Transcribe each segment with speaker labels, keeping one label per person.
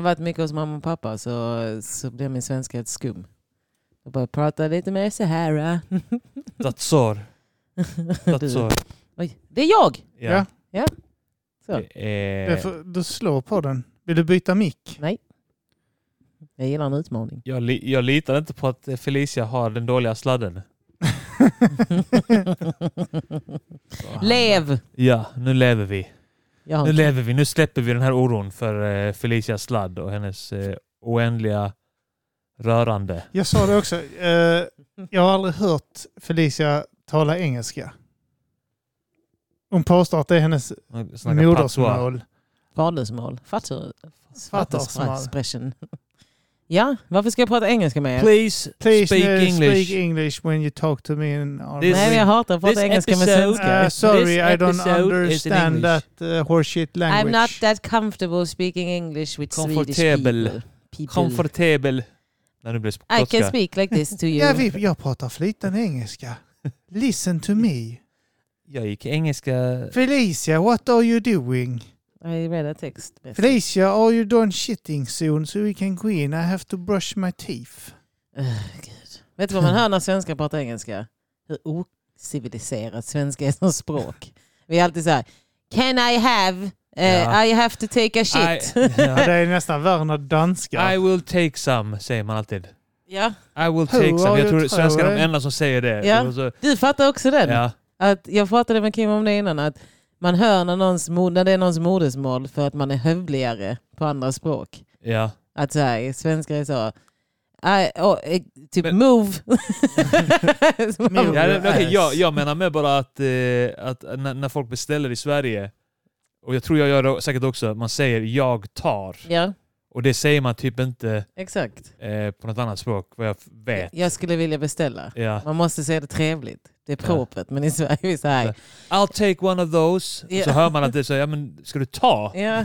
Speaker 1: Jag har varit mycket hos mamma och pappa så, så blev min svenska helt skum. Jag bara prata lite mer så här. äh."
Speaker 2: That's all. That's all.
Speaker 1: Oj, det är jag!
Speaker 2: Ja.
Speaker 1: Ja. Så.
Speaker 2: Det
Speaker 3: Det är
Speaker 2: är-
Speaker 3: för- Du slår på den. Vill du byta mick?
Speaker 1: Jag gillar en utmaning.
Speaker 2: Jag, li- jag litar inte på att Felicia har den dåliga sladden.
Speaker 1: Lev!
Speaker 2: Ja, nu lever vi.
Speaker 1: Jag har
Speaker 2: Nu
Speaker 1: en-
Speaker 2: lever vi, nu släpper vi den här oron för eh, Felicias sladd och hennes eh, oändliga rörande.
Speaker 3: Jag sa det också. eh, jag har aldrig hört Felicia tala engelska. Hon påstår att det är hennes
Speaker 2: Hon snackar patois.
Speaker 3: modersmål.
Speaker 1: Fadersmål. Fattar
Speaker 3: Fadersmål.
Speaker 1: Expression. Ja, varför ska jag prata engelska med er?
Speaker 2: Please,
Speaker 3: Please
Speaker 2: speak
Speaker 3: no,
Speaker 2: English.
Speaker 3: speak English when you talk to me in
Speaker 2: This-
Speaker 1: Nej, men jag hatar att
Speaker 2: this
Speaker 1: prata engelska med
Speaker 2: episode-
Speaker 1: svenska.
Speaker 3: Uh, sorry,
Speaker 2: This
Speaker 3: I don't
Speaker 2: episode is in
Speaker 3: understand
Speaker 2: English.
Speaker 3: that uh, horseshit language.
Speaker 1: I'm not that comfortable speaking English with Swedish
Speaker 2: Comfortable.
Speaker 1: people. people.
Speaker 2: Komfortabel. När du blir
Speaker 1: I can
Speaker 2: skotska.
Speaker 1: speak like this to you.
Speaker 3: ja, vi, jag pratar flytande engelska. Listen to me.
Speaker 2: Jag gick engelska...
Speaker 3: Felicia, what are you doing?
Speaker 1: I read a text. best.
Speaker 3: Felicia, are you done shitting soon so we can go in? I have to brush my teeth.
Speaker 1: Öh, Gud. Vet du vad man hör när svenskar pratar engelska? Hur ociviliserat svenska är som språk. Vi är alltid så här. Can I have? eh,
Speaker 2: Ja.
Speaker 1: I have to take a shit.
Speaker 2: I,
Speaker 3: Ja,
Speaker 2: ja.
Speaker 3: det är nästan värre när danskar.
Speaker 2: I will take some, säger man alltid.
Speaker 1: ja.
Speaker 2: I will
Speaker 3: Who
Speaker 2: take
Speaker 3: are
Speaker 2: some. Jag
Speaker 3: you
Speaker 2: tror svenskar är de
Speaker 3: throwing?
Speaker 2: enda som säger det.
Speaker 1: Ja.
Speaker 2: Det var så-
Speaker 1: Du fattar också den?
Speaker 2: ja.
Speaker 1: Att jag pratade med Kim om det innan. Att man hör när, någons, mod- när det är någons modersmål för att man är hövligare på andra språk.
Speaker 2: ja.
Speaker 1: Att så här, svenskar är så... I, oh, eh, typ
Speaker 2: Men-
Speaker 1: move. Så man-
Speaker 3: Move.
Speaker 2: Ja, det,
Speaker 3: Nice.
Speaker 2: okej, jag, jag menar med bara att, eh, att när, när folk beställer i Sverige, och jag tror jag gör det säkert också, man säger jag tar.
Speaker 1: ja,
Speaker 2: Och det säger man typ inte
Speaker 1: exakt.
Speaker 2: eh, på något annat språk, vad jag f- vet.
Speaker 1: Jag skulle vilja beställa.
Speaker 2: Ja.
Speaker 1: Man måste säga det trevligt. Det är propert, men i Sverige är vi så här.
Speaker 2: I'll take one of those.
Speaker 1: Ja.
Speaker 2: Så hör man att det är så, ja men ska du ta?
Speaker 1: Ja.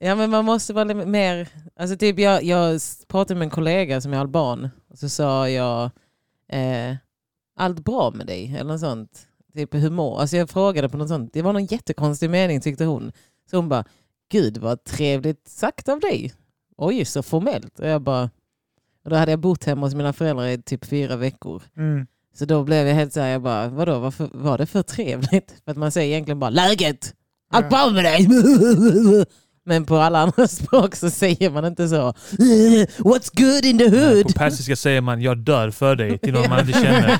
Speaker 1: ja, men man måste vara lite mer... Alltså typ jag, jag pratade med en kollega som är alban. Och så sa jag, eh, allt bra med dig? Eller något sånt. Typ hur mår... Alltså jag frågade på något sånt. Det var någon jättekonstig mening tyckte hon. Så hon bara, gud vad trevligt sagt av dig. Oj, så formellt. Och jag bara... Och då hade jag bott hemma hos mina föräldrar i typ fyra veckor.
Speaker 3: Mm.
Speaker 1: Så då blev jag helt så här, jag bara, vadå, varför var det för trevligt? För att man säger egentligen bara läget, allt bra med dig. Men på alla andra språk så säger man inte så. What's good in the
Speaker 2: Nej,
Speaker 1: hood?
Speaker 2: På persiska säger man jag dör för dig till någon man inte känner.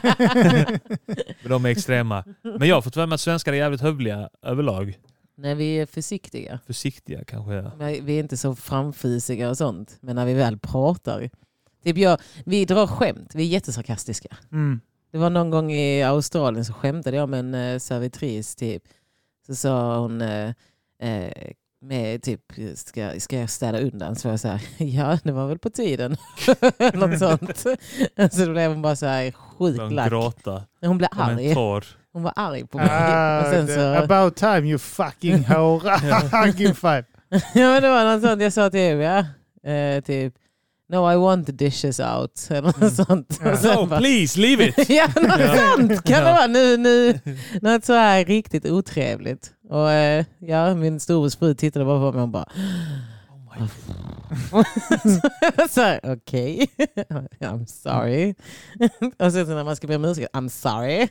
Speaker 2: Men de är extrema. Men jag har fått för mig att svenskar är jävligt hövliga överlag.
Speaker 1: När vi är försiktiga.
Speaker 2: Försiktiga kanske. ja.
Speaker 1: Men Vi är inte så framfysiga och sånt. Men när vi väl pratar. Typ jag, vi drar skämt, vi är jättesarkastiska.
Speaker 3: Mm.
Speaker 1: Det var någon gång i Australien så skämtade jag med en eh, servitris. Typ. Så sa hon, eh, eh, med, typ, ska, ska jag städa undan? Så var jag så här, ja det var väl på tiden. Något sånt. så då blev hon bara så här sjukt
Speaker 2: De
Speaker 1: lack.
Speaker 2: gråta.
Speaker 1: Hon blev
Speaker 2: De är
Speaker 1: arg.
Speaker 2: torr.
Speaker 1: Hon var arg på mig.
Speaker 3: Ah,
Speaker 1: och sen
Speaker 3: the-
Speaker 1: så,
Speaker 3: About time you fucking hora. Give five.
Speaker 1: ja, men det var något sånt jag sa till Eva. Eh, typ, no I want the dishes out. Eller något sånt. Och sen
Speaker 2: No,
Speaker 1: bara-
Speaker 2: please, leave it!
Speaker 1: Ja, något
Speaker 2: Ja.
Speaker 1: sånt kan det
Speaker 2: Ja.
Speaker 1: vara. Nu, nu, något så här riktigt otrevligt. Och eh, ja, min storebrors fru tittade bara på mig och bara...
Speaker 2: Oh my God.
Speaker 1: så här, Okej, I'm sorry. och sen så när man ska be om ursäkt, I'm sorry.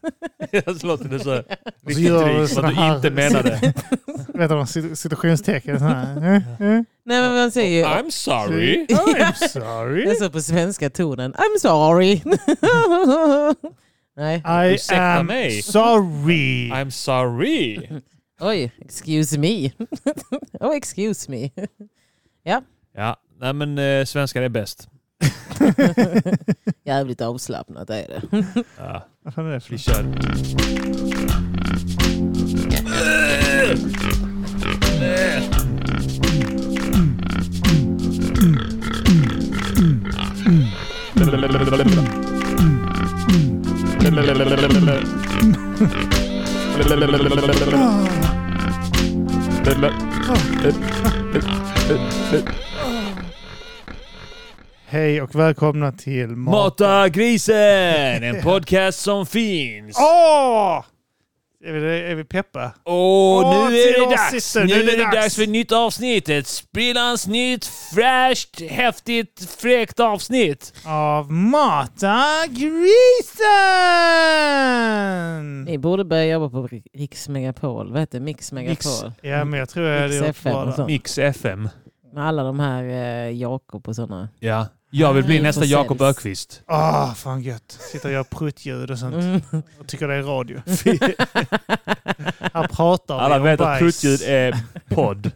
Speaker 2: Jag så låter det så här
Speaker 3: så
Speaker 2: riktigt
Speaker 3: gör vi
Speaker 2: drygt, som
Speaker 3: såna
Speaker 2: att du
Speaker 3: här-
Speaker 2: inte menade.
Speaker 3: Vet du, cit- citationstecken. sån här. Eh, eh.
Speaker 1: Nej men man säger ju...
Speaker 2: I'm sorry.
Speaker 3: I'm sorry.
Speaker 1: Jag sa på svenska tonen, I'm sorry. Nej,
Speaker 3: I
Speaker 2: Ursäkta
Speaker 3: am
Speaker 2: mig.
Speaker 3: sorry.
Speaker 2: I'm sorry.
Speaker 1: oj, excuse me. oh, excuse me.
Speaker 2: Ja, nej men eh, svenskar är bäst.
Speaker 1: Jävligt avslappnat är det.
Speaker 2: Ja,
Speaker 3: Vad fan är det för
Speaker 2: vi kör.
Speaker 3: Hej och välkomna till Mat...
Speaker 2: Mata grisen! En podcast som finns.
Speaker 3: Åh! Är vi, är vi peppa?
Speaker 2: Åh,
Speaker 3: Åh,
Speaker 2: nu är
Speaker 3: till
Speaker 2: det
Speaker 3: oss
Speaker 2: dags!
Speaker 3: sitter,
Speaker 2: Nu är det dags för ett nytt avsnitt. Ett sprillans nytt, fräscht, häftigt, fräckt avsnitt.
Speaker 3: Av Marta Grisen!
Speaker 1: Mm. Ni borde börja jobba på Ri- Riks Megapol. Vad heter det? Mix Megapol?
Speaker 3: Ja, men jag tror jag hade
Speaker 1: Mix
Speaker 3: gjort
Speaker 1: FM
Speaker 3: bra
Speaker 1: och
Speaker 3: där.
Speaker 1: sånt.
Speaker 2: Mix FM.
Speaker 1: Med alla de här eh, Jakob och sådana.
Speaker 2: Ja. Jag vill bli
Speaker 1: Nej,
Speaker 2: nästa
Speaker 1: precis.
Speaker 2: Jakob Ökvist.
Speaker 3: Ah, fan gött. Sitter och gör pruttljud och sånt.
Speaker 1: Mm.
Speaker 3: Och tycker det är radio. Här pratar vi
Speaker 2: Alla
Speaker 3: om
Speaker 2: vet att
Speaker 3: bajs.
Speaker 2: pruttljud är podd.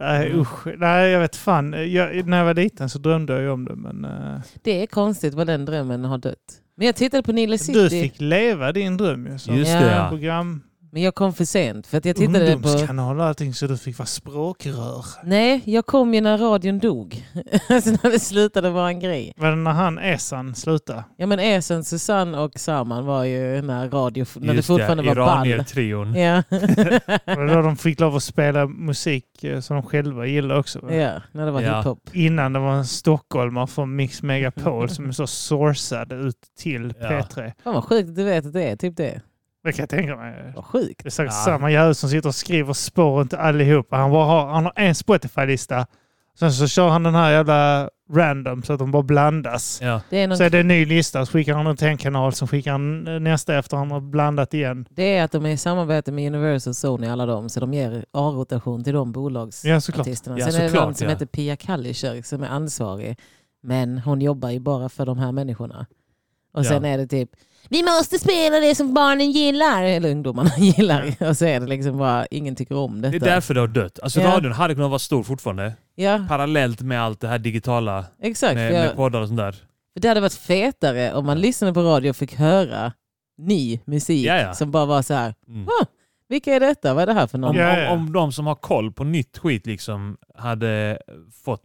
Speaker 3: Nej
Speaker 2: Mm.
Speaker 3: usch. Nej jag vet fan. Jag, när jag var liten så drömde jag ju om det men... eh,
Speaker 1: Det är konstigt vad den drömmen har dött. Men jag tittade på Nile
Speaker 3: du
Speaker 1: City.
Speaker 3: fick leva din dröm ju. Som
Speaker 2: Just
Speaker 1: Ja.
Speaker 2: det ja.
Speaker 3: program,
Speaker 1: Men jag kom för sent. För att jag tittade på...
Speaker 3: ungdomskanal och allting så du fick vara språkrör.
Speaker 1: Nej, jag kom ju när radion dog. alltså när det slutade vara en grej.
Speaker 3: Var det när han Esan slutade?
Speaker 1: Ja men Esen, Susanne och Saman var ju när radio... När det
Speaker 2: Just
Speaker 1: fortfarande var ball.
Speaker 2: Iranier-trion.
Speaker 1: Ja.
Speaker 3: Var det då de fick lov att spela musik eh, som de själva gillade också? va?
Speaker 1: ja, när det var
Speaker 2: Ja.
Speaker 1: hiphop.
Speaker 3: Innan det var en stockholmare från Mix Megapol som är så sourcad ut till
Speaker 2: Ja.
Speaker 3: P3.
Speaker 1: Fan vad sjukt att du vet att det är typ det.
Speaker 3: Det kan jag tänka mig.
Speaker 1: Vad sjukt.
Speaker 3: Det är säkert
Speaker 2: Ja.
Speaker 3: samma jävel som sitter och skriver spår inte allihopa. Han, bara har, han har en Spotify-lista. Sen så kör han den här jävla random så att de bara blandas.
Speaker 2: Ja.
Speaker 1: Det är, någon,
Speaker 3: Så är det en ny lista, så skickar han den till en kanal, sen skickar han eh, nästa efter han har blandat igen.
Speaker 1: det är att de är i samarbete med Universal, Sony, alla dem. Så de ger A-rotation till de bolags...
Speaker 3: Ja, såklart.
Speaker 1: artisterna.
Speaker 2: Ja,
Speaker 1: Sen är det någon
Speaker 2: såklart,
Speaker 1: som
Speaker 2: ja.
Speaker 1: heter Pia Kallischer som är ansvarig. Men hon jobbar ju bara för de här människorna. Och sen
Speaker 2: Ja.
Speaker 1: är det typ, vi måste spela det som barnen gillar, eller ungdomarna gillar. Och så är det liksom bara, ingen tycker om
Speaker 2: Det är
Speaker 1: detta.
Speaker 2: därför det har dött. Alltså
Speaker 1: Ja.
Speaker 2: radion hade kunnat vara stor fortfarande.
Speaker 1: ja,
Speaker 2: Parallellt med allt det här digitala.
Speaker 1: exakt.
Speaker 2: Med,
Speaker 1: för jag,
Speaker 2: med poddar och sånt där.
Speaker 1: för det hade varit fetare om man lyssnade på radio och fick höra ny musik
Speaker 2: Ja, ja.
Speaker 1: som bara var så här,
Speaker 2: Mm.
Speaker 1: vilka är detta? Vad är det här för någon?
Speaker 2: Om,
Speaker 3: Ja, ja.
Speaker 2: Om, om de som har koll på nytt skit liksom hade fått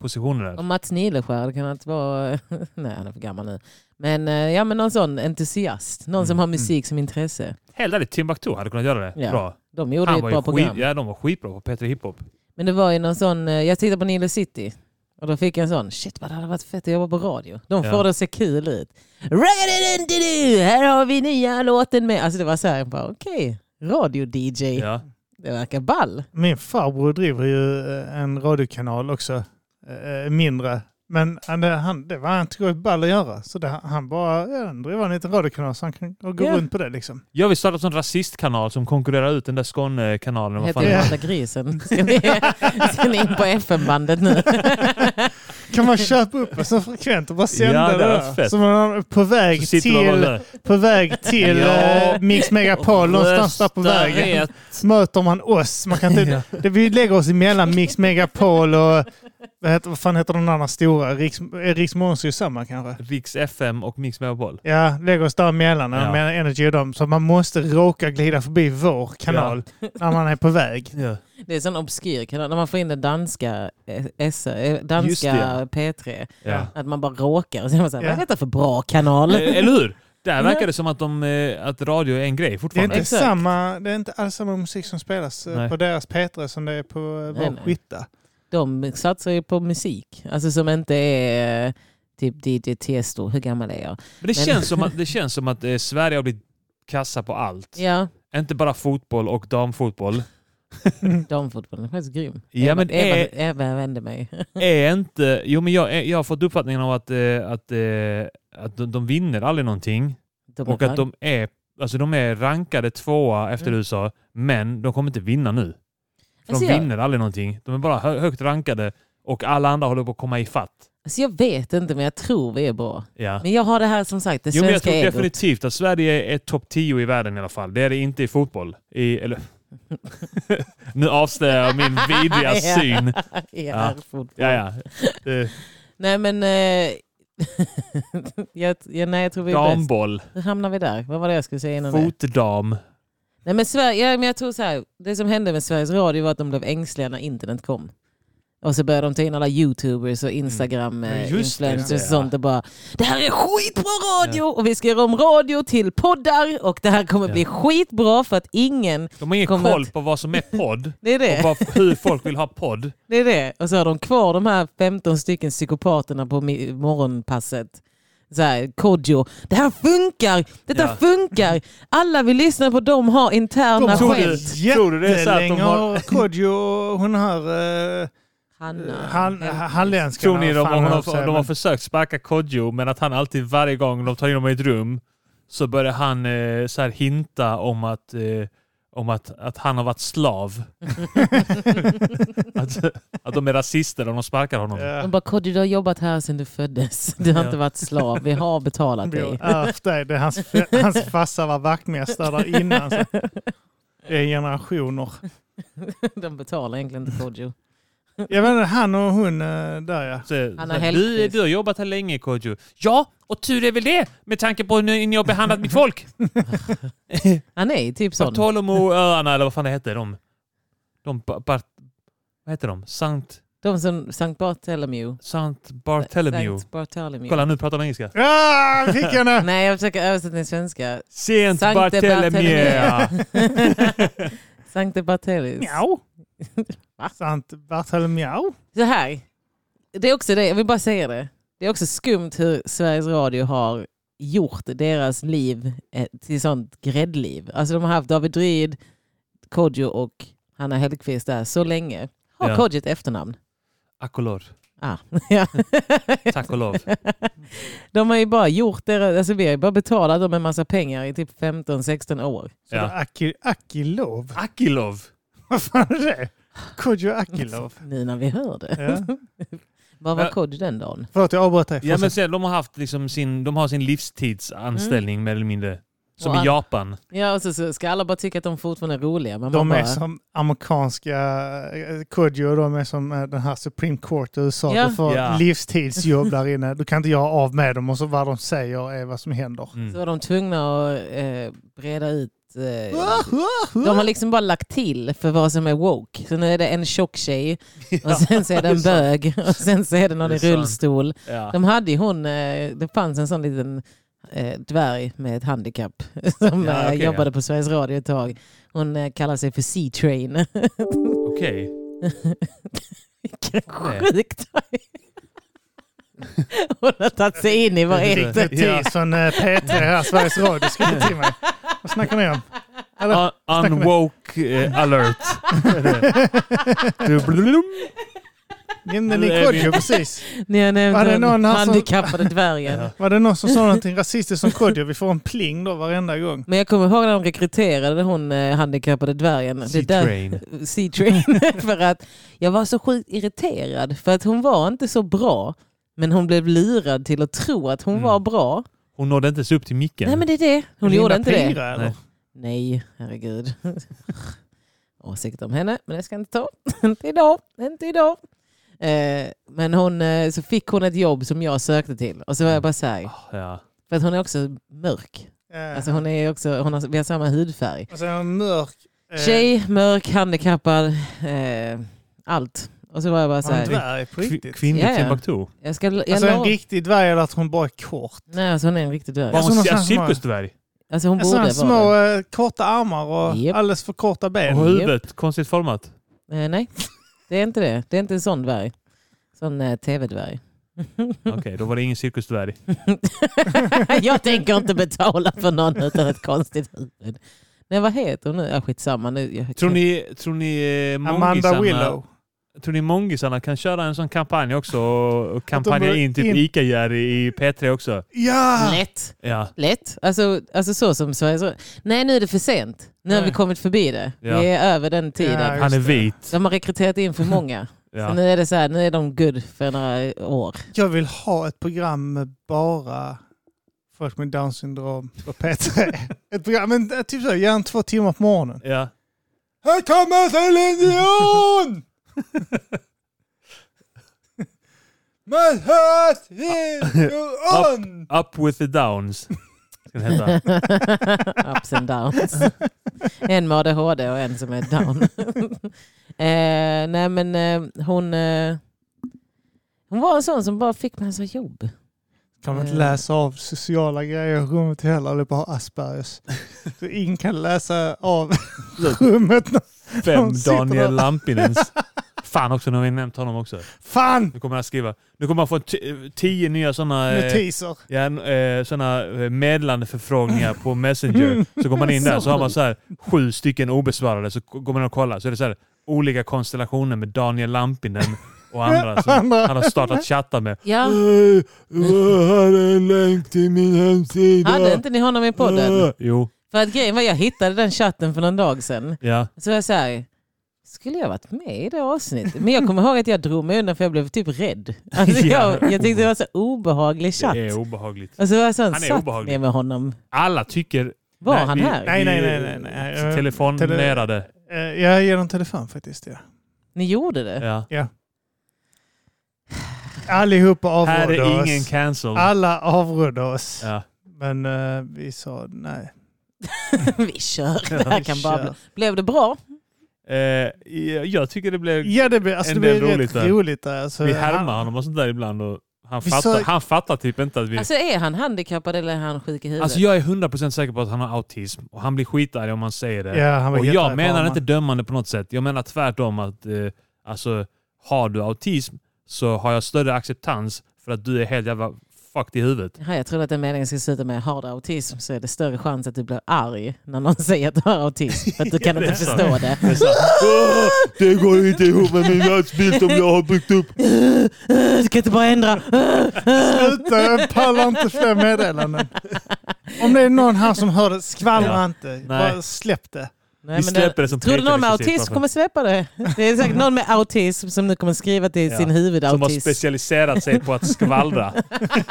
Speaker 2: positioner där.
Speaker 1: Om Mats Nileskär, det kan inte vara... Nej, han är för gammal nu. Men eh, ja, men någon sån entusiast. Någon som
Speaker 2: Mm,
Speaker 1: har
Speaker 2: mm.
Speaker 1: musik som intresse.
Speaker 2: Hela det Timbuktu hade kunnat göra det
Speaker 1: Ja.
Speaker 2: bra.
Speaker 1: De gjorde
Speaker 2: Han
Speaker 1: ett
Speaker 2: var
Speaker 1: bra
Speaker 2: ju
Speaker 1: program.
Speaker 2: skit, ja, de var skitbra på Peter Hiphop.
Speaker 1: Men det var ju någon sån, eh, jag tittade på Nile City och då fick jag en sån, shit vad det hade varit fett att jobba på radio. De
Speaker 2: Ja.
Speaker 1: får det att se kul ut. Raggadidindidu, Här har vi nya låten med. Alltså det var så här, jag bara okej, radio-DJ,
Speaker 2: Ja.
Speaker 1: det verkar ball.
Speaker 3: Min farbror driver ju eh, en radiokanal också, eh, mindre. Men han, det- han, det var han tyckte det var ball att göra. Så det, han bara, ja, han driver en liten radiokanal så han kan gå
Speaker 1: Ja.
Speaker 3: runt på det liksom.
Speaker 2: Jag vill starta en sån rasistkanal som konkurrerar ut den där Skånekanalen. Vad
Speaker 1: Heter
Speaker 2: fan
Speaker 1: det
Speaker 3: Ja.
Speaker 1: Marta Grisen? Ska ni, ska ni in på FM-bandet nu?
Speaker 3: Kan man köpa upp en sån frekvent och bara sända
Speaker 2: Ja, det
Speaker 3: det
Speaker 2: hade varit
Speaker 3: där?
Speaker 2: fett.
Speaker 3: Som man är på
Speaker 2: Så
Speaker 3: väg
Speaker 2: sitter de och
Speaker 3: till,
Speaker 2: bara,
Speaker 3: på väg till
Speaker 2: Ja.
Speaker 3: eh, Mix Megapol någonstans där på
Speaker 2: "Rösta
Speaker 3: vägen.
Speaker 2: rätt."
Speaker 3: Möter man oss, man kan
Speaker 2: Typ
Speaker 3: inte, det, vi lägger oss emellan Mix Megapol och vad, heter, vad fan heter den andra stora? Riks, eh, är Riks Måns ju samma kanske?
Speaker 2: Riks FM och Mix Megapol.
Speaker 3: Ja, lägger oss däremellan
Speaker 2: Ja.
Speaker 3: ja. mellan Energy och dem. Så man måste råka glida förbi vår kanal när man är på väg.
Speaker 2: Ja.
Speaker 1: Det är en sån obskyr kanal, när man får in den danska, eh, S, eh,
Speaker 2: Just
Speaker 1: danska
Speaker 2: det,
Speaker 1: P3.
Speaker 2: Ja.
Speaker 1: Att man bara råkar och så är man så här,
Speaker 3: Ja.
Speaker 1: vad är detta för bra kanal?
Speaker 2: Eh, Eller hur? Där verkar det som att, de, eh, att radio är en grej
Speaker 3: Det är,
Speaker 2: fortfarande.
Speaker 3: inte
Speaker 1: Exakt.
Speaker 3: samma, det är inte alls samma musik som spelas eh,
Speaker 2: Nej.
Speaker 3: på deras P3 som det är på eh,
Speaker 1: Nej,
Speaker 3: vår
Speaker 1: nej.
Speaker 3: skitta.
Speaker 1: De satsar ju på musik, alltså som inte är eh, typ DJ Tiesto. Hur gammal är jag?
Speaker 2: Men det
Speaker 1: Men-
Speaker 2: känns som att, det känns som att eh, Sverige har blivit kassa på allt.
Speaker 1: Ja,
Speaker 2: Inte bara fotboll och damfotboll.
Speaker 1: damfotbollen är faktiskt grym.
Speaker 2: Ja, men
Speaker 1: Eva,
Speaker 2: är-
Speaker 1: Eva, Eva vände mig.
Speaker 2: Är inte... Jo, men jag, eh, jag har fått uppfattningen av att, eh, att, eh, att de, de vinner aldrig någonting.
Speaker 1: De är
Speaker 2: Och att
Speaker 1: fan-
Speaker 2: de är, alltså de är rankade tvåa efter
Speaker 1: Mm.
Speaker 2: USA, men de kommer inte vinna nu. För
Speaker 1: Alltså,
Speaker 2: de
Speaker 1: jag-
Speaker 2: vinner aldrig någonting. De är bara hö- högt rankade och alla andra håller på att komma i fatt.
Speaker 1: Alltså jag vet inte, men jag tror vi är bra.
Speaker 2: Ja.
Speaker 1: Men jag har det här som sagt, det
Speaker 2: Jo, men jag
Speaker 1: svenska
Speaker 2: tror
Speaker 1: egot.
Speaker 2: definitivt att Sverige är topp 10 i världen i alla fall. Det är det inte i fotboll. I, eller... nu avslöjar jag min vidriga
Speaker 1: Ja.
Speaker 2: syn.
Speaker 1: Ja,
Speaker 2: Ja, ja. Eh,
Speaker 1: Nej men... Eh, jag, jag, nej, jag tror vi är bäst.
Speaker 2: Damboll.
Speaker 1: Hur hamnar vi där? Vad var det jag skulle säga innan det?
Speaker 2: Fotdam.
Speaker 1: Nej, men Sverige, ja, men jag tror så här, det som hände med Sveriges Radio var att de blev ängsliga när internet kom. Och så började de ta in alla youtubers och
Speaker 3: Ja, just det,
Speaker 1: instagram-influencers
Speaker 2: Mm. ja.
Speaker 1: och sånt och bara Det här är skitbra radio! Och vi ska göra om radio till poddar och det här kommer
Speaker 2: Ja.
Speaker 1: bli skitbra för att ingen...
Speaker 2: De har ingen
Speaker 1: Kommer
Speaker 2: koll
Speaker 1: att-
Speaker 2: på vad som är podd
Speaker 1: Det är
Speaker 2: och
Speaker 1: det.
Speaker 2: vad, hur folk vill ha podd.
Speaker 1: det är det. Och så har de kvar de här 15 stycken psykopaterna på mi- morgonpasset så här, Kodjo. Det här funkar! Detta
Speaker 2: Ja.
Speaker 1: funkar! Alla vi lyssnar på dem har interna
Speaker 2: De tror det.
Speaker 1: skämt.
Speaker 2: Tror du det är så att de
Speaker 3: Jättelänge
Speaker 2: har-
Speaker 3: har Kodjo och hon här eh,
Speaker 1: Hanna.
Speaker 3: hall, halländska.
Speaker 2: Tror ni de, om de,
Speaker 3: säger,
Speaker 2: har- de har
Speaker 3: men-
Speaker 2: försökt sparka Kodjo men att han alltid varje gång de tar in honom i ett rum så börjar han eh, så här hinta om att eh, om att, att han har varit slav. att, att de är rasister om de sparkar honom.
Speaker 1: De
Speaker 3: Ja,
Speaker 1: bara, Kodjo du har jobbat här sedan du föddes. Du har
Speaker 2: Ja.
Speaker 1: inte varit slav. Vi har betalat
Speaker 3: de
Speaker 1: dig.
Speaker 3: har ärvt dig. Det är hans, hans farsa var vaktmästare där innan. Så det är generationer.
Speaker 1: De betalar egentligen inte Kodjo.
Speaker 3: Jag vet inte, han och hon eh, där ja.
Speaker 2: Så, så,
Speaker 1: Han har
Speaker 2: här,
Speaker 1: Hellqvist.
Speaker 2: du, du har jobbat här länge Kodjo. Ja, och tur är väl det med tanke på hur ni ni har behandlat mitt folk.
Speaker 1: Han är typ sån.
Speaker 2: Bartolomoöarna eller vad fan det heter. De, de, ba- Bart, vad heter de? Sankt,
Speaker 1: De som Sankt Bartholomew.
Speaker 2: Sankt Bartholomew.
Speaker 1: Sankt Bartholomew.
Speaker 2: Kolla nu pratar de engelska.
Speaker 3: Ah, fick jag henne!
Speaker 1: Nej, jag försöker översätta till svenska.
Speaker 2: Sent
Speaker 1: Sankte
Speaker 2: Bartholomew.
Speaker 1: Sankte Bartholomew.
Speaker 3: Mjau.
Speaker 1: Va?
Speaker 3: Sant Bartholomew.
Speaker 1: Så här. Det är också det, jag vill bara säga det. Det är också skumt hur Sveriges Radio har gjort deras liv eh, till sånt gräddliv. Alltså de har haft David Druid, Kodjo och Hanna Hellquist där så länge. Har
Speaker 2: Ja.
Speaker 1: Kodjo ett efternamn?
Speaker 2: Tack och lov.
Speaker 1: Ah, ja.
Speaker 2: Tack och lov.
Speaker 1: De har ju bara gjort deras, alltså vi har ju bara betalat dem en massa pengar i typ 15-16 år.
Speaker 3: Så
Speaker 2: Ja.
Speaker 3: det är Aki- Akilov.
Speaker 2: Akilov.
Speaker 3: Vad fan är det? Kodjo Akilov.
Speaker 1: Nu när vi hör det.
Speaker 3: Ja.
Speaker 1: Vad var
Speaker 2: Ja.
Speaker 1: Kodjo den dagen?
Speaker 3: Förlåt, jag avbröt dig.
Speaker 2: Ja, men sen, de har haft liksom sin, de har sin livstidsanställning mer eller mindre. Som
Speaker 1: Mm. Och
Speaker 2: i
Speaker 1: an-
Speaker 2: Japan.
Speaker 1: Ja, och så, så ska alla bara tycka att de fortfarande är roliga. Men man
Speaker 3: De
Speaker 1: bara,
Speaker 3: är som amerikanska eh, Kodjo, de är som eh, den här Supreme Court i USA.
Speaker 1: Ja.
Speaker 3: Du får
Speaker 2: Ja.
Speaker 3: livstidsjobb där inne. Du kan inte göra av med dem och så vad de säger är vad som händer.
Speaker 1: så
Speaker 2: Mm.
Speaker 1: var de tvungna att eh, breda ut... Eh, de har liksom bara lagt till för vad som är woke. Så nu är det en tjock tjej, och sen så är det en bög, och sen så är det någon
Speaker 2: Det
Speaker 1: i
Speaker 2: är sant.
Speaker 1: rullstol.
Speaker 2: Ja.
Speaker 1: De hade ju hon, eh, det fanns en sån liten eh, dvärg med ett handikapp som
Speaker 2: Ja, okej,
Speaker 1: eh, jobbade på Sveriges Radio ett tag. Hon eh, kallar sig för C-Train.
Speaker 2: Okej.
Speaker 1: Vilken
Speaker 2: Nej.
Speaker 1: sjuk tajming. Hon har tagit sig in i vad är det?
Speaker 3: Riktigt
Speaker 2: Ja.
Speaker 3: Tison eh, P3 här, Sveriges Radio, skriver till mig. Vad snackar ni om?
Speaker 2: Un- Unwoke eh, alert. Du- blum.
Speaker 3: Nämnde ni Kodjo precis?
Speaker 1: Ni har
Speaker 3: Var det
Speaker 1: nämnt
Speaker 3: någon
Speaker 1: den
Speaker 3: här som-
Speaker 1: handikappade dvärgen.
Speaker 2: Ja.
Speaker 3: Var det någon som sa någonting rasistiskt om Kodjo? Vi får en pling då varenda gång.
Speaker 1: Men jag kommer ihåg när de rekryterade hon eh, handikappade dvärgen. Det där-
Speaker 2: C-train.
Speaker 1: C-Train. för att jag var så sjukt irriterad. För att hon var inte så bra. Men hon blev lurad till att tro att hon
Speaker 2: Mm.
Speaker 1: var bra.
Speaker 2: Hon nådde inte ens upp till micken.
Speaker 1: Nej men det är det. Hon
Speaker 3: Linda
Speaker 1: gjorde inte det.
Speaker 3: Pira, eller?
Speaker 2: Nej.
Speaker 1: Nej, herregud. Åsikt om henne, men det ska jag inte ta. inte idag, inte idag. Eh, men hon, eh, så fick hon ett jobb som jag sökte till. Och så var jag bara så här,
Speaker 2: Ah, ja.
Speaker 1: för att hon är också mörk.
Speaker 3: Eh,
Speaker 1: Alltså hon är också, hon har, vi har samma hudfärg.
Speaker 3: Och sen en mörk... eh,
Speaker 1: Tjej, mörk, handikappad, eh, allt. Och så var jag bara så
Speaker 3: och En
Speaker 1: här,
Speaker 3: dvärg på
Speaker 2: Kvi-
Speaker 3: riktigt.
Speaker 2: Kvinnlig
Speaker 1: Ja, ja.
Speaker 2: timbuktu.
Speaker 1: jag ska... alltså. Jag
Speaker 3: Alltså en
Speaker 1: lovar-
Speaker 3: riktig dvärg eller att hon bara är kort.
Speaker 1: Nej, alltså hon är en riktig dvärg.
Speaker 2: Var
Speaker 3: Jag
Speaker 2: hon
Speaker 3: såg
Speaker 2: c-
Speaker 3: någonstans som var-
Speaker 2: cirkusdvärg?
Speaker 1: Alltså hon borde
Speaker 3: Sådana
Speaker 1: vara
Speaker 3: små
Speaker 1: det.
Speaker 3: eh, korta armar och
Speaker 1: Japp.
Speaker 3: alldeles för korta ben.
Speaker 2: Och huvudet, konstigt format.
Speaker 1: Eh, nej, det är inte det. Det är inte en sån dvärg. Sån eh, tv-dvärg.
Speaker 2: Okej, då var det ingen cirkusdvärg.
Speaker 1: jag tänker inte betala för någon utan ett konstigt huvud. Nej, vad heter hon nu? Ah, skitsamma. Nu, jag,
Speaker 2: Tror ni, tror ni eh,
Speaker 3: Amanda
Speaker 2: mongisarna-
Speaker 3: Willow.
Speaker 2: Tror ni mongisarna kan köra en sån kampanj också? och- Och kampanja
Speaker 3: börjar
Speaker 2: in typ
Speaker 3: in-
Speaker 2: Ica-Jerry i P3 också?
Speaker 3: Ja!
Speaker 1: Lätt.
Speaker 2: Ja.
Speaker 1: Lätt. Alltså, alltså så som Sveriges Radio- Nej, nu är det för sent. Nu har
Speaker 3: Nej.
Speaker 1: vi kommit förbi det.
Speaker 2: Ja.
Speaker 1: Vi är över den
Speaker 3: Ja,
Speaker 1: tiden.
Speaker 2: Han
Speaker 3: just
Speaker 2: är
Speaker 3: det.
Speaker 2: vit.
Speaker 1: De har rekryterat in för många. Så
Speaker 2: Ja.
Speaker 1: nu är det så här, nu är de good för några år.
Speaker 3: Jag vill ha ett program med bara folk med Downs syndrom på P3. ett program, men eh, typ så, här, gärna två timmar på morgonen.
Speaker 2: ja.
Speaker 3: Här kommer Céline Dion! My heart is on!
Speaker 2: Up with the downs. Ska den heta.
Speaker 1: Ups and downs. En med ADHD och en som är down. eh, nej men eh, hon, eh, hon var en sån som bara fick massa jobb.
Speaker 3: Kan man inte läsa av sociala grejer i rummet heller, eller bara Aspergers. Så ingen kan läsa av rummet.
Speaker 2: Fem
Speaker 3: De sitter
Speaker 2: Daniel
Speaker 3: där.
Speaker 2: Lampinens. Fan också, nu har vi nämnt honom också.
Speaker 3: Fan!
Speaker 2: Nu kommer jag skriva. Nu kommer jag få t- tio nya sådana...
Speaker 3: Notiser.
Speaker 2: Ja, en, eh, sådana eh, meddelandeförfrågningar på Messenger. Så går man in där så har man så här sju stycken obesvarade. Så går man och kollar så är det så här olika konstellationer med Daniel Lampinen och andra som han har startat chatta med.
Speaker 1: Ja,
Speaker 2: Här är en länk till min hemsida.
Speaker 1: hade inte ni honom i podden?
Speaker 2: Jo,
Speaker 1: För att grejen var jag hittade den chatten för någon dag sedan.
Speaker 2: ja.
Speaker 1: Så jag säger, skulle jag varit med i det avsnittet? Men jag kommer ihåg att jag drog mig undan för jag blev typ rädd. Alltså
Speaker 2: Ja.
Speaker 1: jag, jag tyckte det var så obehaglig chatt.
Speaker 2: Det är obehagligt.
Speaker 1: Och så var jag sån,
Speaker 2: Han är
Speaker 1: satt
Speaker 2: obehaglig.
Speaker 1: ner med honom.
Speaker 2: Alla tycker...
Speaker 1: Var
Speaker 2: Nej,
Speaker 1: han
Speaker 2: vi-
Speaker 1: här?
Speaker 3: Nej, nej, nej, nej, nej.
Speaker 2: Telefonerade.
Speaker 3: Eh, Jag ger dem telefon faktiskt. Ja.
Speaker 1: Ni gjorde det?
Speaker 2: Ja.
Speaker 3: Allihopa
Speaker 2: Här
Speaker 3: avrådde
Speaker 2: är
Speaker 3: oss.
Speaker 2: ingen cancel.
Speaker 3: Alla avrådde oss.
Speaker 2: Ja.
Speaker 3: Men eh, vi sa nej.
Speaker 1: vi kör. Det här
Speaker 3: Vi
Speaker 1: kan bara bli.
Speaker 3: kör.
Speaker 1: Blev det bra?
Speaker 2: Eh, jag- jag tycker det blev...
Speaker 3: Ja, det blir, alltså, det
Speaker 2: En
Speaker 3: blir
Speaker 2: del roligt
Speaker 3: roligt rätt
Speaker 2: där.
Speaker 3: roligt där. Alltså,
Speaker 2: Vi härmar honom och sånt där ibland. Och han,
Speaker 3: Vi
Speaker 2: fattar,
Speaker 3: sa-
Speaker 2: han fattar typ inte att vi... Alltså,
Speaker 1: Alltså är han handikappad eller är han sjuk i huvudet?
Speaker 2: jag är 100% säker på att han har autism och han blir skitarg om man säger det.
Speaker 3: Ja, han var
Speaker 2: och jag
Speaker 3: jättearg på
Speaker 2: menar
Speaker 3: honom.
Speaker 2: inte dömande på något sätt. Jag menar tvärtom att eh, alltså, har du autism så har jag större acceptans för att du är helt jävla fucked i huvudet.
Speaker 1: Jaha, jag trodde att den meningen skulle sluta med har du autism så är det större chans att du blir arg när någon säger att du har autism. För att du kan
Speaker 2: Ja, det
Speaker 1: inte
Speaker 2: är
Speaker 1: förstå
Speaker 2: sant.
Speaker 1: det.
Speaker 2: Det är så här, "Åh, det går inte ihop med min världsbild som jag har byggt upp.
Speaker 1: Du kan inte bara ändra.
Speaker 3: Sluta, jag pallar inte fler meddelanden. Om det är någon här som hör det, skvallra
Speaker 2: Ja.
Speaker 3: inte. Bara släpp det.
Speaker 1: Nej,
Speaker 2: Vi
Speaker 1: men det,
Speaker 2: släpper det som
Speaker 1: tror du någon med
Speaker 2: trekvadratmeter
Speaker 1: autism kommer släppa det? Det är säkert någon med autism som nu kommer skriva till
Speaker 2: Ja,
Speaker 1: sin
Speaker 2: Som har
Speaker 1: huvudautism.
Speaker 2: specialiserat sig på att skvallra.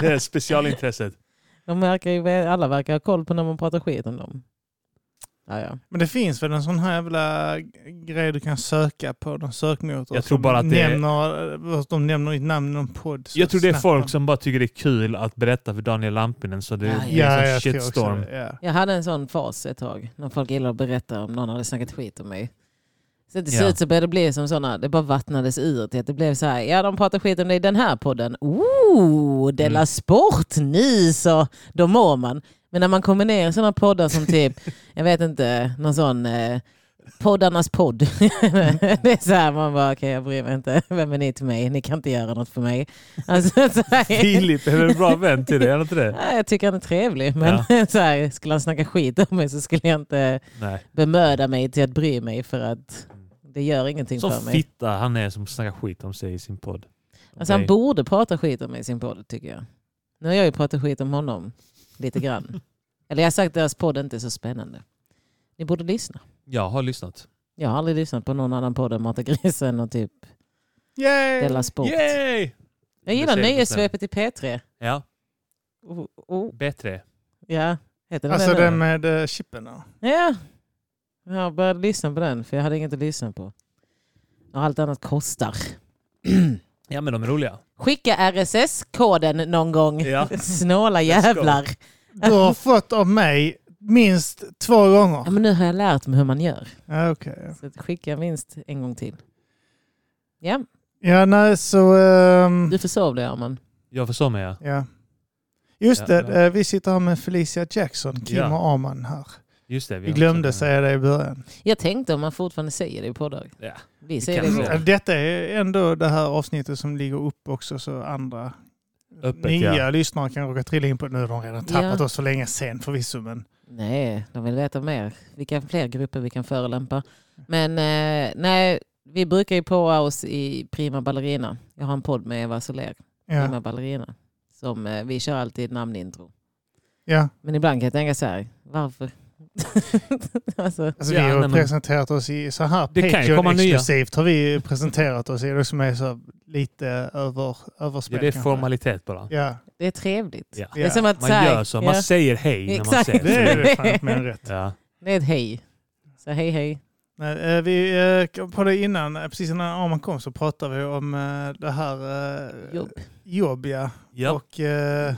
Speaker 2: det är specialintresset.
Speaker 1: De verkar ju, alla verkar ha koll på när man pratar skit om dem. Ja, ja.
Speaker 3: Men det finns väl en sån här jävla grej du kan söka på någon sökmotor?
Speaker 2: Jag tror bara att det är-
Speaker 3: nämner, De nämner ditt namn i någon podd. så
Speaker 2: Jag tror det är
Speaker 3: snabbt
Speaker 2: folk
Speaker 3: de-
Speaker 2: som bara tycker det är kul att berätta för Daniel Lampinen så det
Speaker 1: Ja,
Speaker 2: blir
Speaker 3: Ja,
Speaker 2: en
Speaker 3: jag tror också
Speaker 2: shitstorm.
Speaker 3: det, ja.
Speaker 1: Jag hade en sån fas ett tag när folk gillade att berätta om någon hade snackat skit om mig. Så till
Speaker 2: Ja.
Speaker 1: slut så började det bli som sådana, det bara vattnades ur till att det blev så här, ja de pratar skit om dig i den här podden, ooh, Della
Speaker 2: Mm.
Speaker 1: Sport, ni så, då mår man. Men när man kommer ner i sådana poddar som typ, jag vet inte, någon sån eh, poddarnas podd. det är så här, man bara, okej jag bryr mig inte, vem är ni till mig, ni kan inte göra något för mig. Alltså, så här.
Speaker 2: Filip är väl en bra vän till dig, är han inte det?
Speaker 1: Ja, Jag tycker han är trevlig, men så här, skulle han snacka skit om mig så skulle jag inte
Speaker 2: Nej.
Speaker 1: bemöda mig till att bry mig för att det gör ingenting
Speaker 2: Som
Speaker 1: för mig.
Speaker 2: fitta han är som snackar skit om sig i sin podd.
Speaker 1: Alltså, han
Speaker 2: Nej.
Speaker 1: borde prata skit om mig i sin podd tycker jag. Nu har jag ju pratat skit om honom lite grann. Eller jag har sagt att deras podd inte är så spännande. Ni borde lyssna.
Speaker 2: Jag har lyssnat.
Speaker 1: Jag har aldrig lyssnat på någon annan podd än Mata grisen och typ
Speaker 3: Yay!
Speaker 1: Della Sport.
Speaker 2: Yay!
Speaker 1: Jag gillar
Speaker 2: Det ser jag
Speaker 1: nyhetssvepet i P3.
Speaker 2: Ja,
Speaker 1: Oh, oh.
Speaker 2: bättre.
Speaker 1: Ja, heter den
Speaker 3: Alltså
Speaker 1: det nu?
Speaker 3: det med eh, chippen. då.
Speaker 1: Ja. Jag började lyssna på den för jag hade inget att lyssna på. Och allt annat kostar.
Speaker 2: Ja men de är roliga.
Speaker 1: Skicka RSS-koden någon gång.
Speaker 2: Ja.
Speaker 1: Snåla
Speaker 2: Let's go.
Speaker 1: jävlar.
Speaker 3: Du har fått av mig minst två
Speaker 1: Ja,
Speaker 3: gånger.
Speaker 1: men nu har jag lärt mig hur man gör.
Speaker 3: Ja, okej. ja.
Speaker 1: Så att skicka minst en gång till. Ja,
Speaker 3: Ja, nej, så... ehm,
Speaker 1: du försov dig Arman.
Speaker 2: Jag försov mig ja.
Speaker 3: ja. Just
Speaker 2: Ja,
Speaker 3: det,
Speaker 2: ja.
Speaker 3: eh, vi sitter här med Felicia Jackson, Kim
Speaker 2: Ja.
Speaker 3: och Arman här.
Speaker 2: Just det.
Speaker 3: Vi
Speaker 2: har
Speaker 3: glömde
Speaker 2: också-
Speaker 3: säga det i början.
Speaker 1: Jag tänkte om man fortfarande säger det i poddar.
Speaker 2: Ja.
Speaker 1: Vi säger det
Speaker 2: kan
Speaker 1: i
Speaker 2: vi.
Speaker 1: poddar.
Speaker 2: Ja.
Speaker 3: Detta är ändå det här avsnittet som ligger upp också så andra
Speaker 2: Öppet,
Speaker 3: nya
Speaker 2: ja.
Speaker 3: lyssnare kan råka trilla in på det. Nu har de redan
Speaker 1: Ja.
Speaker 3: tappat oss för länge sen förvisso. Men
Speaker 1: Nej, de vill veta mer. Vilka fler grupper vi kan förolämpa. Men eh, nej, vi brukar ju påa oss i Prima Ballerina. Jag har en podd med Eva Soler,
Speaker 3: ja.
Speaker 1: Prima Ballerina. Som eh, vi kör alltid namnintro.
Speaker 3: ja.
Speaker 1: Men ibland kan jag tänka så här, varför? alltså,
Speaker 3: Alltså,
Speaker 2: Ja,
Speaker 3: vi har
Speaker 2: nej, men-
Speaker 3: presenterat oss i så här
Speaker 2: Det kan ju komma nya.
Speaker 3: Patreon-exklusivt har vi presenterat oss i det som är så lite över,
Speaker 2: ja.
Speaker 3: överspel.
Speaker 2: Det är
Speaker 3: kanske.
Speaker 2: formalitet bara.
Speaker 3: Ja,
Speaker 1: det är trevligt.
Speaker 2: Ja.
Speaker 1: Det är som att
Speaker 2: Man
Speaker 1: så här,
Speaker 2: gör så. Man
Speaker 1: ja.
Speaker 2: säger hej när man
Speaker 1: Exakt.
Speaker 2: säger
Speaker 3: det är
Speaker 2: det.
Speaker 3: det fan men rätt.
Speaker 2: Ja.
Speaker 1: Det är ett hej. Så hej hej.
Speaker 3: Nej, eh, vi, eh, kom på det innan, eh, precis innan Arman kom så pratade vi om eh, det här eh,
Speaker 1: Jobb.
Speaker 3: jobb, ja.
Speaker 2: Ja.
Speaker 3: Och, eh,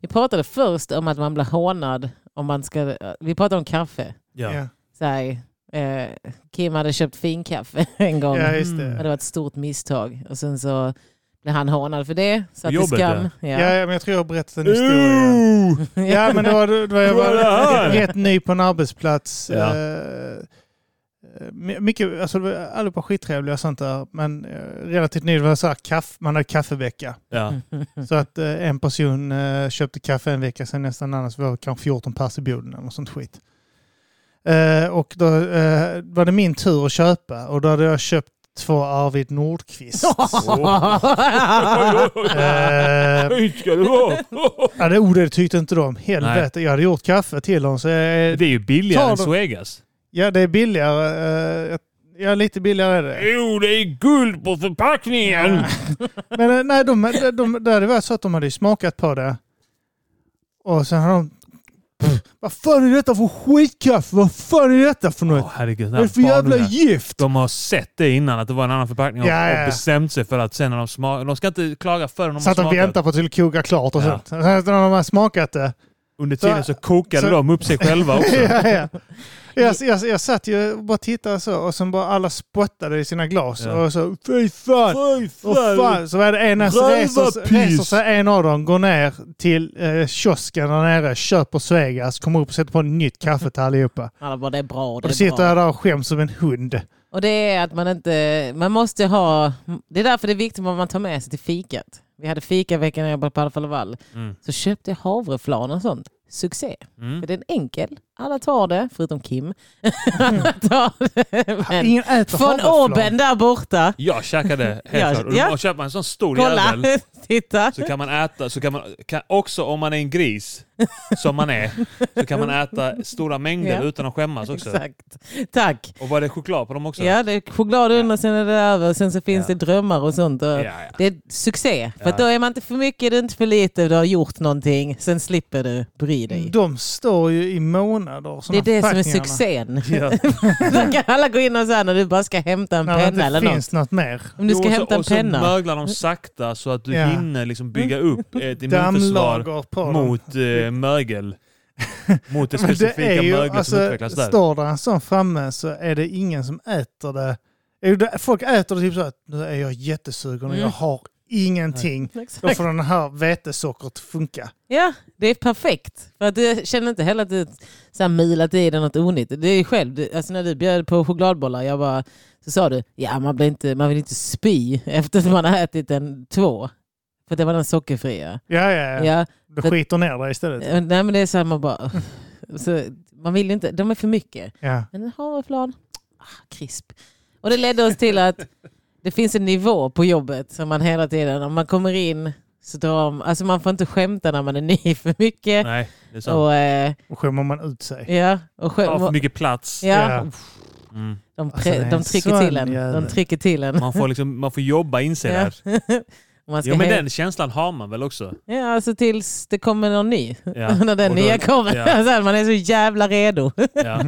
Speaker 1: Vi pratade först om att man blir hånad om man ska... eh, Vi pratade om kaffe.
Speaker 2: Ja.
Speaker 3: ja.
Speaker 1: Så här, eh, Kim hade köpt finkaffe en gång.
Speaker 3: ja, just
Speaker 1: Och
Speaker 3: det.
Speaker 1: det var ett stort misstag. Och sen så blev han hånad för det. Så att det är
Speaker 2: Jobbet,
Speaker 1: skam.
Speaker 3: Ja.
Speaker 1: Ja.
Speaker 3: ja, men jag tror jag har berättat en historia. Ja, men det var, det var, jag
Speaker 2: Vad är det
Speaker 3: var
Speaker 2: här?
Speaker 3: rätt ny på en arbetsplats.
Speaker 2: Ja.
Speaker 3: Eh, eh, my- mycket, alltså det var allihopa skittrevliga och sånt där. Men eh, relativt nyligen var det så här, kaff, man hade kaffevecka.
Speaker 2: Ja.
Speaker 1: Mm.
Speaker 3: Så att eh, en person eh, köpte kaffe en vecka sen nästan annars var det kanske 14 pers i bjuden eller något sånt skit. Eh, och då eh, var det min tur att köpa och då hade jag köpt två Arvid Nordqvist. eh,
Speaker 2: Hur ska det vara?
Speaker 3: ja, det, oh, det tyckte inte de. Helvete, jag hade gjort kaffe till dem. Så jag,
Speaker 2: Det är ju billigare
Speaker 3: Ta
Speaker 2: än
Speaker 3: dem.
Speaker 2: Swegas.
Speaker 3: ja, det är billigare. Eh, ja, lite billigare är det.
Speaker 2: Jo, det är guld på förpackningen!
Speaker 3: Men eh, nej, de, de, de, där det var så att de hade ju smakat på det. Och sen har de... Pff, vad fan är detta för skitkaffe? Vad fan är detta för något?
Speaker 2: Åh, herregud, den
Speaker 3: vad är
Speaker 2: här
Speaker 3: det för jävla
Speaker 2: barnungen.
Speaker 3: gift?
Speaker 2: De har sett det innan, att det var en annan förpackning och,
Speaker 3: Ja, ja, ja.
Speaker 2: och bestämt sig för att sen när de smakar... De ska inte klaga förrän de
Speaker 3: Så
Speaker 2: har
Speaker 3: att de
Speaker 2: smakat.
Speaker 3: väntar på att det skulle koka klart och
Speaker 2: Ja.
Speaker 3: sånt. Sen när de har smakat det.
Speaker 2: Under tiden så kokade
Speaker 3: så-
Speaker 2: de upp sig själva också.
Speaker 3: ja, ja. Jag, jag, jag satt ju och bara tittade så och sen bara alla spottade i sina glas.
Speaker 2: Ja.
Speaker 3: Och så fy fan!
Speaker 2: Fy
Speaker 3: Och fan, så var det en så
Speaker 2: Röva
Speaker 3: reser,
Speaker 2: piss.
Speaker 3: reser sig en av dem, går ner till eh, kiosken där nere, köper Svegas, kommer upp och sätter på ett nytt kaffe till allihopa.
Speaker 1: Alla bara, det är bra.
Speaker 3: Och då
Speaker 1: Det är
Speaker 3: sitter
Speaker 1: bra.
Speaker 3: jag där och skäms som en hund.
Speaker 1: Och det är att man inte, man måste ha, det är därför det är viktigt vad man tar med sig till fikat. Vi hade fika veckan när jag jobbade på Alfa Laval.
Speaker 2: Mm.
Speaker 1: Så köpte jag havreflarn och sånt. Succé.
Speaker 2: Mm.
Speaker 1: För den är enkel. Alla tar det, förutom Kim. Alla tar det. Men
Speaker 3: Ingen äter
Speaker 1: från
Speaker 3: havreflarn.
Speaker 1: oben där borta.
Speaker 2: Jag käkade helt
Speaker 1: Ja,
Speaker 2: klart. Och
Speaker 1: ja.
Speaker 2: ja. köper man en sån stor
Speaker 1: Kolla,
Speaker 2: jävel
Speaker 1: titta.
Speaker 2: så kan man äta, så kan man, kan, också om man är en gris, som man är, så kan man äta stora mängder
Speaker 1: Ja.
Speaker 2: utan att skämmas också.
Speaker 1: Exakt. Tack.
Speaker 2: Och var det choklad på dem också?
Speaker 1: Ja, det är choklad under, sen är det över. Sen så finns
Speaker 2: Ja.
Speaker 1: det drömmar och sånt. Och
Speaker 2: Ja, ja.
Speaker 1: Det är succé. För
Speaker 2: Ja.
Speaker 1: att då är man inte för mycket, det är inte för lite, du har gjort någonting. Sen slipper du bry dig.
Speaker 3: De står ju i
Speaker 1: det
Speaker 3: månader. Mm. såna
Speaker 1: är det som är succén.
Speaker 3: förpackningarna.
Speaker 2: Ja.
Speaker 1: Då kan alla gå in och säga när du bara ska hämta en
Speaker 3: När
Speaker 1: penna
Speaker 3: det
Speaker 1: eller
Speaker 3: inte
Speaker 1: något.
Speaker 3: finns något mer.
Speaker 1: Om du ska
Speaker 2: Jo, och så-
Speaker 1: hämta en
Speaker 2: och så
Speaker 1: penna.
Speaker 2: möglar de sakta så att du
Speaker 3: Ja.
Speaker 2: hinner liksom bygga upp ett immunförsvar
Speaker 3: Dammlager på dem.
Speaker 2: mot eh, mögel. Mot det
Speaker 3: Men
Speaker 2: specifika möglet
Speaker 3: alltså,
Speaker 2: som utvecklas där.
Speaker 3: Står där en sån framme så är det ingen som äter det. Är det- Folk äter det typ så att nu är jag jättesugen och
Speaker 1: Mm.
Speaker 3: jag har ingenting. Då
Speaker 1: Exakt.
Speaker 3: får den här vetesockret funka.
Speaker 1: Ja, det är perfekt. För att du känner inte heller att du så här milat i dig något onyttigt. Det är ju själv, du- alltså när du bjöd på chokladbollar, jag bara, så sa du, ja man, blir inte, man vill inte spy efter att man har ätit en två. För det var den sockerfria.
Speaker 3: Ja,
Speaker 1: Ja.
Speaker 3: ja, ja. Du skiter ner dig istället.
Speaker 1: eh, nej men det är så här, man bara, så, man vill ju inte, de är för mycket.
Speaker 3: Ja.
Speaker 1: Men en havreflarn, ah, krisp. Och det ledde oss till att det finns en nivå på jobbet som man hela tiden, om man kommer in så drar, alltså man får inte skämta när man är ny för mycket.
Speaker 2: Nej, det är sant.
Speaker 1: Och, eh,
Speaker 3: Och skämmer man ut sig.
Speaker 1: ja, och
Speaker 2: Ta för
Speaker 1: själv,
Speaker 2: mycket plats.
Speaker 1: ja,
Speaker 2: Mm.
Speaker 1: de, pre,
Speaker 3: Alltså, det är
Speaker 1: de
Speaker 3: en
Speaker 1: trycker till en.
Speaker 3: sån jävel.
Speaker 1: De trycker till en.
Speaker 2: Man, får liksom, man får jobba in sig
Speaker 1: Ja.
Speaker 2: där.
Speaker 1: Man ska
Speaker 2: Jo, men
Speaker 1: he-
Speaker 2: den känslan har man väl också?
Speaker 1: ja, alltså tills det kommer någon ny.
Speaker 2: Ja.
Speaker 1: När den
Speaker 2: Och då-
Speaker 1: nya kommer.
Speaker 2: ja.
Speaker 1: Så här, man är så jävla redo.
Speaker 2: Ja.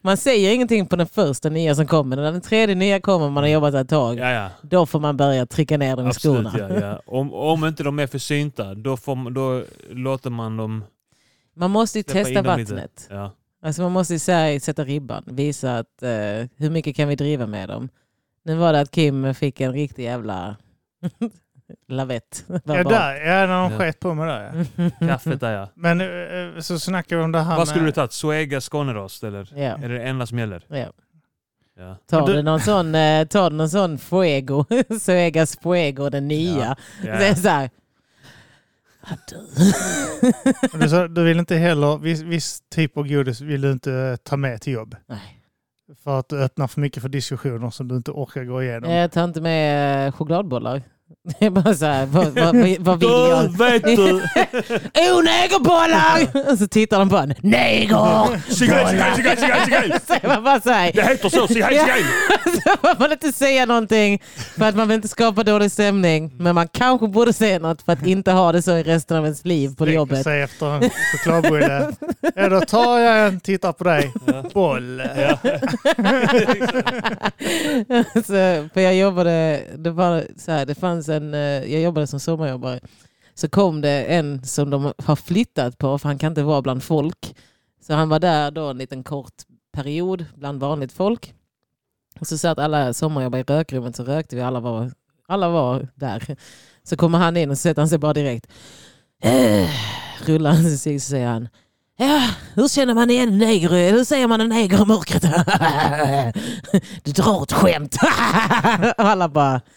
Speaker 1: Man säger ingenting på den första nya som kommer. När den tredje nya kommer man har jobbat ett tag.
Speaker 2: Mm. Ja, ja.
Speaker 1: Då får man börja trycka ner dem i
Speaker 2: Absolut,
Speaker 1: skorna.
Speaker 2: ja, ja. Om, om inte de är försynta, då, får, man- då låter man dem...
Speaker 1: Man måste ju
Speaker 2: Släppa in
Speaker 1: testa
Speaker 2: dem lite.
Speaker 1: vattnet.
Speaker 2: Ja.
Speaker 1: Alltså man måste ju så här, sätta ribban. Visa att, eh, hur mycket kan vi driva med dem. Nu var det att Kim fick en riktig jävla lavett.
Speaker 3: Ja, där, ja när de
Speaker 2: Ja.
Speaker 3: sket på mig där.
Speaker 1: Mm.
Speaker 3: Ja.
Speaker 2: Kaffet där ja.
Speaker 3: Men eh, så snackar vi om det här
Speaker 2: Vad skulle du
Speaker 3: med...
Speaker 2: tagit? Zoega Skånerost eller?
Speaker 1: Ja.
Speaker 2: Är det det enda som gäller?
Speaker 1: Ja.
Speaker 2: Ja.
Speaker 1: Tar
Speaker 3: Men du-
Speaker 1: du någon sån, eh, tar du någon sån fuego, Suegas fuego, den nya.
Speaker 2: Ja.
Speaker 1: Det är så här,
Speaker 3: Men Du, sa, du vill inte heller, viss, viss typ av godis vill du inte eh, ta med till jobb.
Speaker 1: nej.
Speaker 3: För att du öppnar för mycket för diskussioner som du inte orkar gå igenom.
Speaker 1: Jag tar inte med eh, chokladbollar. Det är bara så här, vad, vad, vad- vad vill jag?
Speaker 2: vet du!
Speaker 1: Oh, negerbollar! Och så tittar de på en, neger!
Speaker 2: Sigaj, sigaj, sigaj, sigaj, sigaj!
Speaker 1: Så är man bara så här,
Speaker 2: Det heter så, sigaj, sigaj!
Speaker 1: så får man inte säga någonting för att man vill inte skapa dålig stämning. Men man kanske borde säga något för att inte ha det så i resten av ens liv på
Speaker 3: Sträcker
Speaker 1: jobbet.
Speaker 3: sig efter en chokladbulle. ja, då tar jag en, tittar på dig. Boll.
Speaker 2: Ja.
Speaker 1: så, för jag jobbade, det var så här, det fanns en, eh, jag jobbade som sommarjobbare. Så kom det en som de har flyttat på, för han kan inte vara bland folk. Så han var där då en liten kort period bland vanligt folk. Och så satt alla sommarjobbare i rökrummet, så rökte vi, alla var, alla var där. Så kommer han in och så sätter han sig bara direkt. Eh, rullar han sig och säger han, Ja, hur känner man igen neger? Hur säger man en neger i mörkret? Du drar ett skämt. Och alla bara...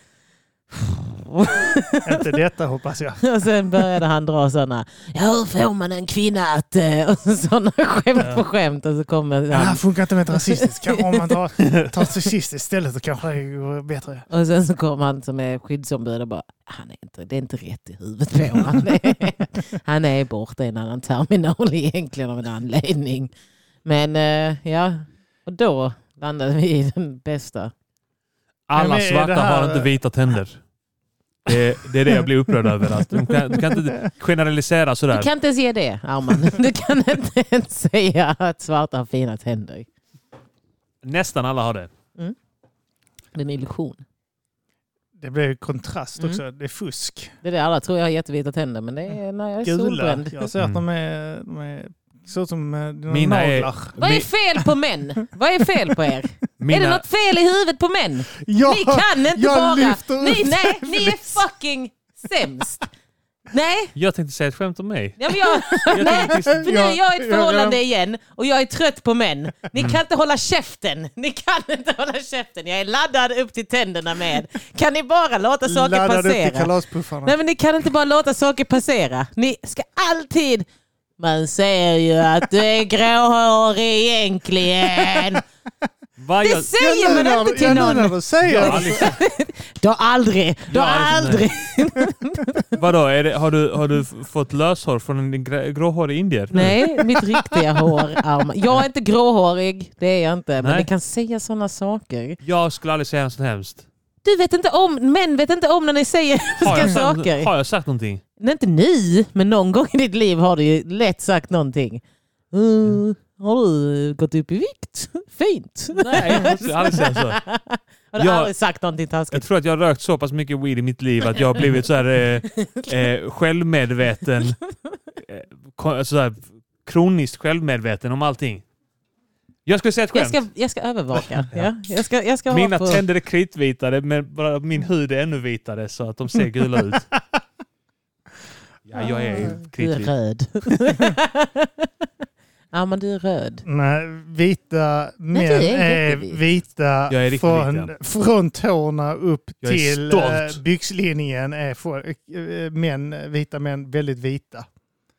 Speaker 3: Inte detta hoppas jag.
Speaker 1: Och sen började han dra sådana, ja hur får man en kvinna att... eh, Och sådana skämt på skämt. Och så kommer
Speaker 3: Ja. Ah,
Speaker 1: han.
Speaker 3: funkar inte med ett rasistiskt. Kan- Om man tar, tar ett rasistiskt istället så kanske det går bättre.
Speaker 1: Och sen så kommer han som är skyddsombud och bara, han är inte, det är inte rätt i huvudet på honom. han är borta i en annan terminal egentligen av en anledning. Men eh, ja, och då landade vi i den bästa.
Speaker 2: Alla
Speaker 3: Men är
Speaker 2: svarta
Speaker 3: det här-
Speaker 2: har inte vita tänder. Det, det är det jag blir upprörd över. Att du, kan, du kan inte generalisera
Speaker 1: Du
Speaker 2: sådär.
Speaker 1: kan inte ens ge det, Arman. Du kan inte ens säga att svarta har fina tänder.
Speaker 2: Nästan alla har det.
Speaker 1: Det är en illusion.
Speaker 3: Det blir ju kontrast
Speaker 1: Mm.
Speaker 3: också. Det är fusk.
Speaker 1: Det är det alla tror jag har jättevita tänder, men det är när jag är
Speaker 3: Gula.
Speaker 1: solbränd.
Speaker 3: Jag ser att de är... De är ser ut som eh, dina
Speaker 2: Mina är-
Speaker 3: naglar.
Speaker 1: Vad är
Speaker 2: Mi-
Speaker 1: fel på män? Vad är fel på er? Är det
Speaker 2: mina,
Speaker 1: något fel i huvudet på män?
Speaker 3: Ja,
Speaker 1: Ni kan inte
Speaker 3: jag
Speaker 1: bara...
Speaker 3: lyfter
Speaker 1: Ni,
Speaker 3: upp
Speaker 1: nej,
Speaker 3: det.
Speaker 1: ni är fucking sämst. Nej,
Speaker 2: jag tänkte säga ett skämt om mig. liksom,
Speaker 1: ja, men jag, nej, för nu är jag i ett
Speaker 3: Ja, ja.
Speaker 1: förhållande igen och jag är trött på män. Ni kan inte hålla käften. Ni kan inte hålla käften. Jag är laddad upp till tänderna med. Kan ni bara låta saker
Speaker 3: Laddade upp till
Speaker 1: passera?
Speaker 3: kalaspuffarna.
Speaker 1: Nej men ni kan inte bara låta saker passera. Ni ska alltid... Man ser ju att du är gråhårig egentligen.
Speaker 2: Vad
Speaker 1: Det
Speaker 2: jag,
Speaker 1: säger
Speaker 3: nu
Speaker 1: man
Speaker 3: när-
Speaker 1: inte till
Speaker 3: ja, nu när
Speaker 1: någon.
Speaker 3: du säger
Speaker 2: jag har
Speaker 3: det.
Speaker 2: aldrig,
Speaker 1: Du har aldrig, du
Speaker 2: Jag
Speaker 1: har
Speaker 2: har aldrig-
Speaker 1: aldrig.
Speaker 2: vadå, är det, har, du, har du f- fått löshår från en grä- gråhårig indier?
Speaker 1: Nej,
Speaker 2: Mm.
Speaker 1: mitt riktiga hår. Arma. Jag är inte gråhårig, det är jag inte. Men
Speaker 2: Nej.
Speaker 1: ni kan säga sådana saker.
Speaker 2: Jag skulle aldrig säga något sånt hemskt.
Speaker 1: Du vet inte om, män vet inte om när ni säger
Speaker 2: Har
Speaker 1: olika
Speaker 2: jag, sagt,
Speaker 1: saker.
Speaker 2: har jag sagt någonting?
Speaker 1: Nej, inte ni, men någon gång i ditt liv har du ju lätt sagt någonting. Uh, har du gått upp i vikt? Fint.
Speaker 2: Nej, jag skulle aldrig säga så.
Speaker 1: Har du
Speaker 2: Jag-
Speaker 1: aldrig sagt någonting
Speaker 2: Jag
Speaker 1: taskigt?
Speaker 2: tror att jag har rökt så pass mycket weed i mitt liv att jag har blivit så här, eh, eh, självmedveten. Eh, ko- så här, kroniskt självmedveten om allting. Jag skulle säga ett
Speaker 1: Jag
Speaker 2: skämt.
Speaker 1: ska, jag ska övervaka. Ja. Jag ska, jag ska
Speaker 2: Mina
Speaker 1: ha på...
Speaker 2: tänder är kritvitare men bara min hud är ännu vitare så att de ser gula ut. Ja, jag är
Speaker 1: Du Ah, är
Speaker 2: kritvit.
Speaker 1: röd. ja, men du är röd.
Speaker 3: Nej, vita män
Speaker 1: du är
Speaker 3: är,
Speaker 1: riktigt vit.
Speaker 3: vita
Speaker 2: Jag är riktigt
Speaker 3: från,
Speaker 2: vit,
Speaker 3: från tårna upp
Speaker 2: Jag är
Speaker 3: till
Speaker 2: stolt.
Speaker 3: eh, byxlinjen. Är folk, eh, män, vita män väldigt vita.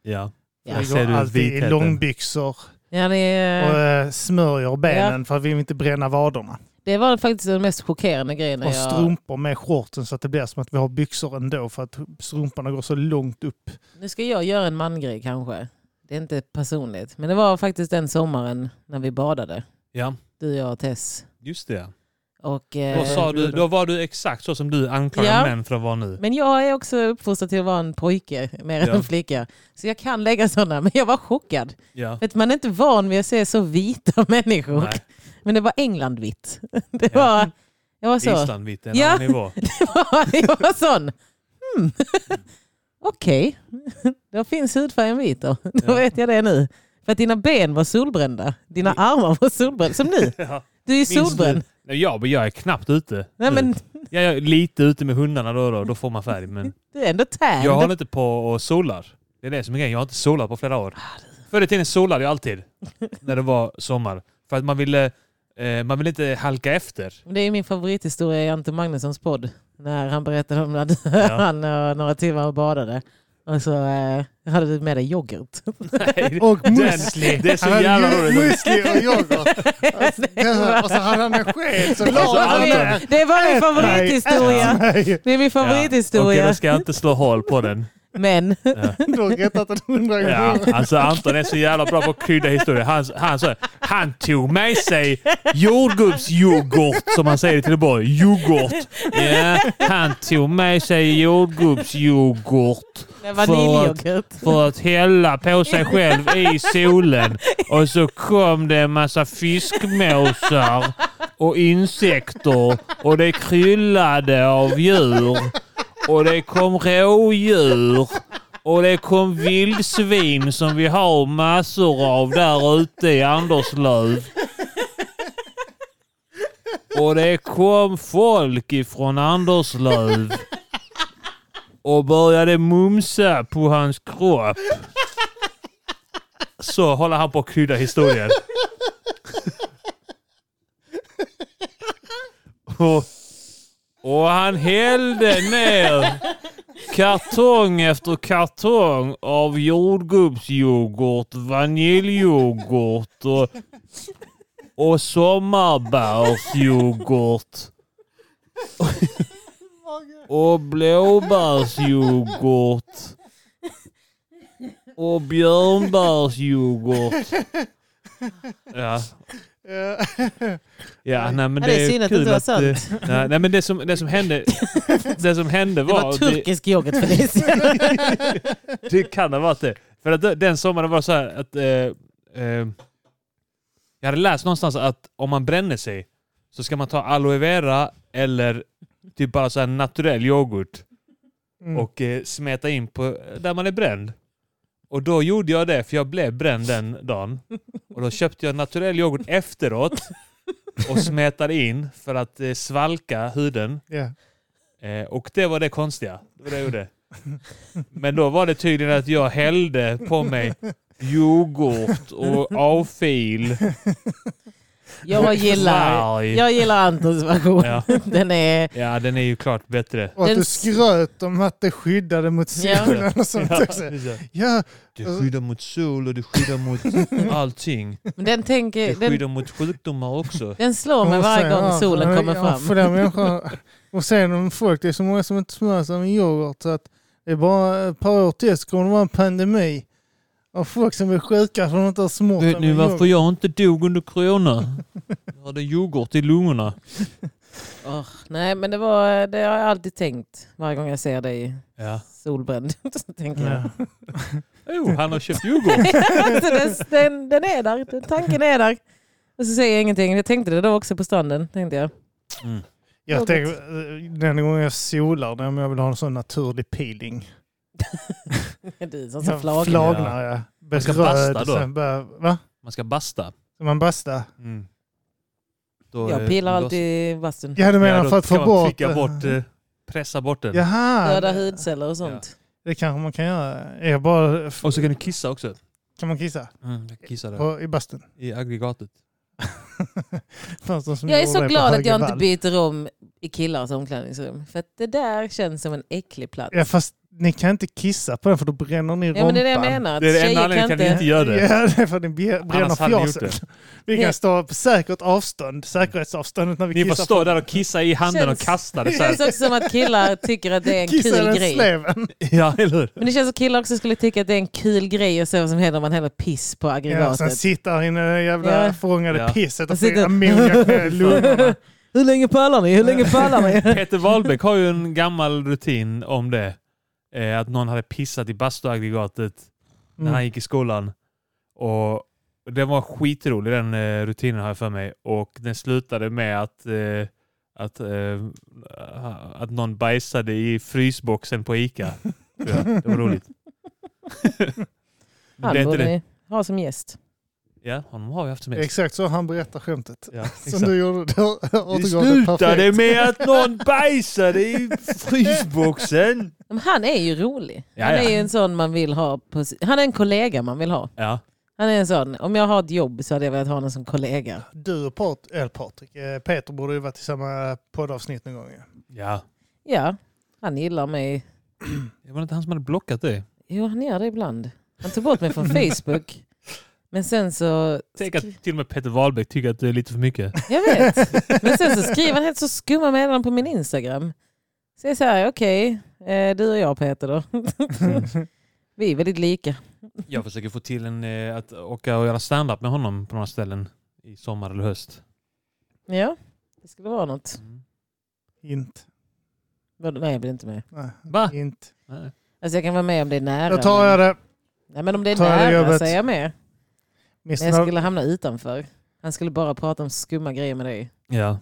Speaker 2: Ja.
Speaker 1: Ja.
Speaker 2: Jag
Speaker 3: Vi
Speaker 2: ser
Speaker 3: går
Speaker 2: ut
Speaker 3: alltid i
Speaker 2: vitheten.
Speaker 3: långbyxor
Speaker 1: Ja, det
Speaker 3: och
Speaker 1: är...
Speaker 3: eh, smörjer benen för att vi vill inte bränna vaderna.
Speaker 1: Det var faktiskt den mest chockerande grejen. när
Speaker 3: Och
Speaker 1: jag-
Speaker 3: strumpor med shortsen så att det blir som att vi har byxor ändå för att strumporna går så långt upp.
Speaker 1: Nu ska jag göra en mangrej kanske. Det är inte personligt. Men det var faktiskt den sommaren när vi badade.
Speaker 2: ja,
Speaker 1: Du, jag och Tess.
Speaker 2: just det.
Speaker 1: Och, eh,
Speaker 2: Då, sa du, då var du exakt så som du anklagar
Speaker 1: Ja.
Speaker 2: män för att vara nu.
Speaker 1: men jag är också uppfostrad till att vara en pojke mer än
Speaker 2: Ja.
Speaker 1: en flicka. Så jag kan lägga sådana. Men jag var chockad.
Speaker 2: Ja.
Speaker 1: För att man är inte van vid att se så vita människor.
Speaker 2: Nej,
Speaker 1: Men det var Englandvitt. Det
Speaker 2: Ja.
Speaker 1: var... Jag var så.
Speaker 2: Islandvitt är en
Speaker 1: Ja.
Speaker 2: annan nivå.
Speaker 1: jag var sån. Hmm. Okej, då finns hudfärgen vit då. Då
Speaker 2: Ja.
Speaker 1: vet jag det nu. För att dina ben var solbrända. Dina armar var solbrända. Som nu.
Speaker 2: Ja.
Speaker 1: Du är ju
Speaker 2: Minns
Speaker 1: solbränd.
Speaker 2: du- Nej, jag, jag är knappt ute.
Speaker 1: Nej,
Speaker 2: nu.
Speaker 1: men
Speaker 2: jag är lite ute med hundarna då och då, då får man färg. Men
Speaker 1: du är ändå tanned.
Speaker 2: jag håller inte på och solar. Det är det som är grejen. Jag har inte solat på flera år.
Speaker 1: Ah,
Speaker 2: Förr i tiden solade jag alltid när det var sommar. För att man ville, eh, man ville inte halka efter.
Speaker 1: Det är min favorithistoria i Ante Magnussons podd. När han berättade om när
Speaker 2: Ja.
Speaker 1: han eh, några timmar och badade. Och så eh, hade du med dig yoghurt.
Speaker 2: Nej,
Speaker 3: Och
Speaker 2: den-
Speaker 3: müsli.
Speaker 2: Det är så
Speaker 3: Han hade
Speaker 2: jävla
Speaker 3: ju
Speaker 2: roligt.
Speaker 3: Müsli och yoghurt. Alltså, det- Och så hade han en sked så
Speaker 2: Och så
Speaker 3: la han
Speaker 2: hade
Speaker 3: den.
Speaker 2: han-
Speaker 1: Det var min
Speaker 3: Ät mig,
Speaker 1: favorithistoria.
Speaker 3: ät mig.
Speaker 1: Det är min
Speaker 2: Ja, Okej,
Speaker 1: favorithistoria.
Speaker 2: då ska jag inte slå hål på den.
Speaker 1: Men
Speaker 3: Du har rättat den hundra
Speaker 2: Ja,
Speaker 3: gånger.
Speaker 2: alltså Anton är så jävla bra på att krydda historier. Han, han, sa, han tog med sig jordgubbsyoghurt, som man säger i Trelleborg. Yoghurt. Ja, han tog med sig jordgubbsyoghurt
Speaker 1: det var
Speaker 2: För-
Speaker 1: vaniljyoghurt.
Speaker 2: för att hälla på sig själv i solen. Och så kom det en massa fiskmåsar och insekter och det kryllade av djur. Och det kom rådjur. Och det kom vildsvin som vi har massor av där ute i Anderslöv. Och det kom folk ifrån Anderslöv och började mumsa på hans kropp. så håller han på att krydda historien. Och, och han hällde ner kartong efter kartong av jordgubbsyoghurt, vaniljyoghurt och, och sommarbärsyoghurt. Och blåbärsyoghurt. Och björnbärsyoghurt. Ja,
Speaker 3: Ja.
Speaker 2: ja nej, men
Speaker 1: Ja,
Speaker 2: det,
Speaker 1: det är synd
Speaker 2: är
Speaker 1: att det
Speaker 2: kul
Speaker 1: inte var
Speaker 2: att... eh, nej, nej, men det som, det som hände, det som hände
Speaker 1: Det
Speaker 2: var...
Speaker 1: var turkisk yoghurt Felicia.
Speaker 2: det, det kan ha varit det. För att det- den sommaren var så här att... Eh, eh, jag hade läst någonstans att om man bränner sig så ska man ta aloe vera eller typ bara så här naturell yoghurt.
Speaker 3: Mm.
Speaker 2: och eh, smeta in på där man är bränd. Och då gjorde jag det, för jag blev bränd den dagen. Och då köpte jag naturell yoghurt efteråt och smetade in för att eh, svalka huden.
Speaker 3: Ja.
Speaker 2: Eh, och det var det konstiga. Det var det jag gjorde. Men då var det tydligen att jag hällde på mig yoghurt och avfil.
Speaker 1: Jag gillar,
Speaker 2: Varg.
Speaker 1: jag gillar Antons version.
Speaker 2: Ja.
Speaker 1: Den är...
Speaker 2: ja, den är ju klart bättre.
Speaker 3: Och att
Speaker 1: Den
Speaker 3: du
Speaker 1: s-
Speaker 3: skröt om att det skyddade mot
Speaker 1: Ja.
Speaker 3: solen och sånt
Speaker 2: Ja,
Speaker 3: också. Ja,
Speaker 2: det skyddar mot sol och det skyddar mot allting.
Speaker 1: Men den, tänker,
Speaker 2: Det
Speaker 1: den,
Speaker 2: skyddar mot sjukdomar också.
Speaker 1: den slår mig varje gång solen kommer
Speaker 3: För
Speaker 1: fram.
Speaker 3: den människan. Och sen om folk, det är så många som inte smörjer sig med yoghurt så att det är bara ett par år till så kommer det vara en pandemi av folk som blir sjuka för att de inte har smort sig
Speaker 2: Vet ni
Speaker 3: med
Speaker 2: varför
Speaker 3: yoghurt.
Speaker 2: jag inte dog under corona? Jag hade yoghurt i lungorna.
Speaker 1: Åh, nej, men det, var, det har jag alltid tänkt varje gång jag ser dig
Speaker 2: Ja.
Speaker 1: solbränd. Så tänker jag.
Speaker 3: Ja.
Speaker 2: Jo, han har köpt yoghurt.
Speaker 1: Så den, den, den är där, den tanken är där. Och så säger jag ingenting. Jag tänkte det då också på stranden. Tänkte jag.
Speaker 3: Jag
Speaker 1: Yoghurt.
Speaker 3: tänker, eh, den gången jag solar, det är om jag vill ha en sån naturlig peeling.
Speaker 1: Du som sa
Speaker 3: Jag
Speaker 1: flagg.
Speaker 3: flagnar jag.
Speaker 2: ska
Speaker 3: Berörd,
Speaker 2: basta då? Mm.
Speaker 3: sen börjar- Va?
Speaker 2: Man ska basta.
Speaker 3: Ska man basta?
Speaker 2: Då, eh,
Speaker 1: Jag pillar
Speaker 2: då-
Speaker 1: alltid i bastun.
Speaker 3: Ja, du menar
Speaker 2: Ja, då
Speaker 3: för att
Speaker 2: kan
Speaker 3: få
Speaker 2: man
Speaker 3: bort...
Speaker 2: pricka bort eh, pressa bort den.
Speaker 3: Jaha,
Speaker 1: Döda hudceller och sånt.
Speaker 3: det kanske man kan göra. Jag bara,
Speaker 2: Och så kan du kissa också.
Speaker 3: kan man kissa
Speaker 2: Mm, jag kissade
Speaker 3: på, i bastun?
Speaker 2: i aggregatet.
Speaker 3: Fanns de som
Speaker 1: Jag är
Speaker 3: gjorde
Speaker 1: så
Speaker 3: det på
Speaker 1: glad att jag inte
Speaker 3: Högevall?
Speaker 1: byter om i killars omklädningsrum. För att det där känns som en äcklig plats.
Speaker 3: Ja, fast ni kan inte kissa på den för då bränner ni
Speaker 1: Ja,
Speaker 3: rumpan.
Speaker 1: men det är det jag menar. Att
Speaker 2: Det är det enda
Speaker 1: tjejer kan
Speaker 2: anledningen till
Speaker 1: inte...
Speaker 2: att vi inte gör det.
Speaker 3: Ja, det är för att ni bje- bränner
Speaker 2: Annars hade ni gjort
Speaker 3: fjaset. Vi kan stå på säkert avstånd, säkerhetsavståndet när vi
Speaker 2: Ni får
Speaker 3: kissar.
Speaker 2: stå där och kissa i handen och
Speaker 1: Känns-
Speaker 2: kasta det
Speaker 1: Det
Speaker 2: så här.
Speaker 1: känns också som att killar tycker att det är en
Speaker 3: Kissar
Speaker 1: kul
Speaker 3: den
Speaker 1: grej.
Speaker 3: sleven.
Speaker 2: Ja, eller hur?
Speaker 1: Men det känns som att killar också skulle tycka att det är en kul grej att se vad som händer om man häller piss på
Speaker 3: Ja, sen
Speaker 1: aggregatet.
Speaker 3: sitter han inne i det jävla
Speaker 1: Ja.
Speaker 3: förångade
Speaker 2: Ja.
Speaker 3: pisset
Speaker 1: Jag
Speaker 3: och
Speaker 1: sitter-
Speaker 3: får ammoniak med lungorna. Mm.
Speaker 1: Hur länge pallar ni? Hur länge pallar ni?
Speaker 2: Peter Wahlbeck har ju en gammal rutin om det. Eh, att någon hade pissat i bastuaggregatet när han
Speaker 3: Mm.
Speaker 2: gick i skolan. Och den var skitrolig den eh, rutinen har jag för mig. Och den slutade med att, eh, att, eh, att någon bajsade i frysboxen på Ica. tror jag. Det var roligt. Men det är
Speaker 1: Han
Speaker 2: inte
Speaker 1: borde
Speaker 2: det.
Speaker 1: ni ha som gäst.
Speaker 2: Ja, honom har vi haft som gäst.
Speaker 3: Exakt så han berättar skämtet.
Speaker 2: Ja,
Speaker 3: Som du gjorde, du
Speaker 2: det
Speaker 3: återgav det
Speaker 2: slutade
Speaker 3: perfekt.
Speaker 2: med att någon bajsade i frysboxen.
Speaker 1: Men han är ju rolig. Han
Speaker 2: Ja, ja.
Speaker 1: är ju en sån man vill ha. På, si- han är en kollega man vill ha.
Speaker 2: Ja,
Speaker 1: Han är en sån. Om jag har ett jobb så hade jag velat ha någon som kollega.
Speaker 3: Du och Pat, eller Patrik, eh, Peter borde ju varit i samma poddavsnitt någon gång. ja.
Speaker 2: ja.
Speaker 1: Ja, han gillar mig.
Speaker 2: Det var inte han som hade blockat dig.
Speaker 1: Jo, han gör det ibland. Han tog bort mig från Facebook. Men sen så...
Speaker 2: Tänk att till och med Peter Wahlbeck tycker att det är lite för mycket.
Speaker 1: Jag vet. Men sen så skriver han helt så skumma meddelanden på min Instagram. Så jag säger okej, eh, du och jag Peter då. Vi är väldigt lika. Mm.
Speaker 2: Jag försöker få till en, eh, att åka och göra stand-up med honom på några ställen i sommar eller höst.
Speaker 1: Ja, det skulle vara något.
Speaker 3: Inte.
Speaker 1: Vad- Nej, jag blir inte med.
Speaker 3: Nej,
Speaker 2: Va?
Speaker 3: inte.
Speaker 2: Nej.
Speaker 1: Alltså jag kan vara med om det är nära.
Speaker 3: Då tar jag det.
Speaker 1: Nej, men om det är
Speaker 3: Tar jag det
Speaker 1: nära
Speaker 3: jobbet.
Speaker 1: så är jag med. Men
Speaker 3: Missen
Speaker 1: jag skulle hamna utanför. Han skulle bara prata om skumma grejer med dig.
Speaker 2: Ja.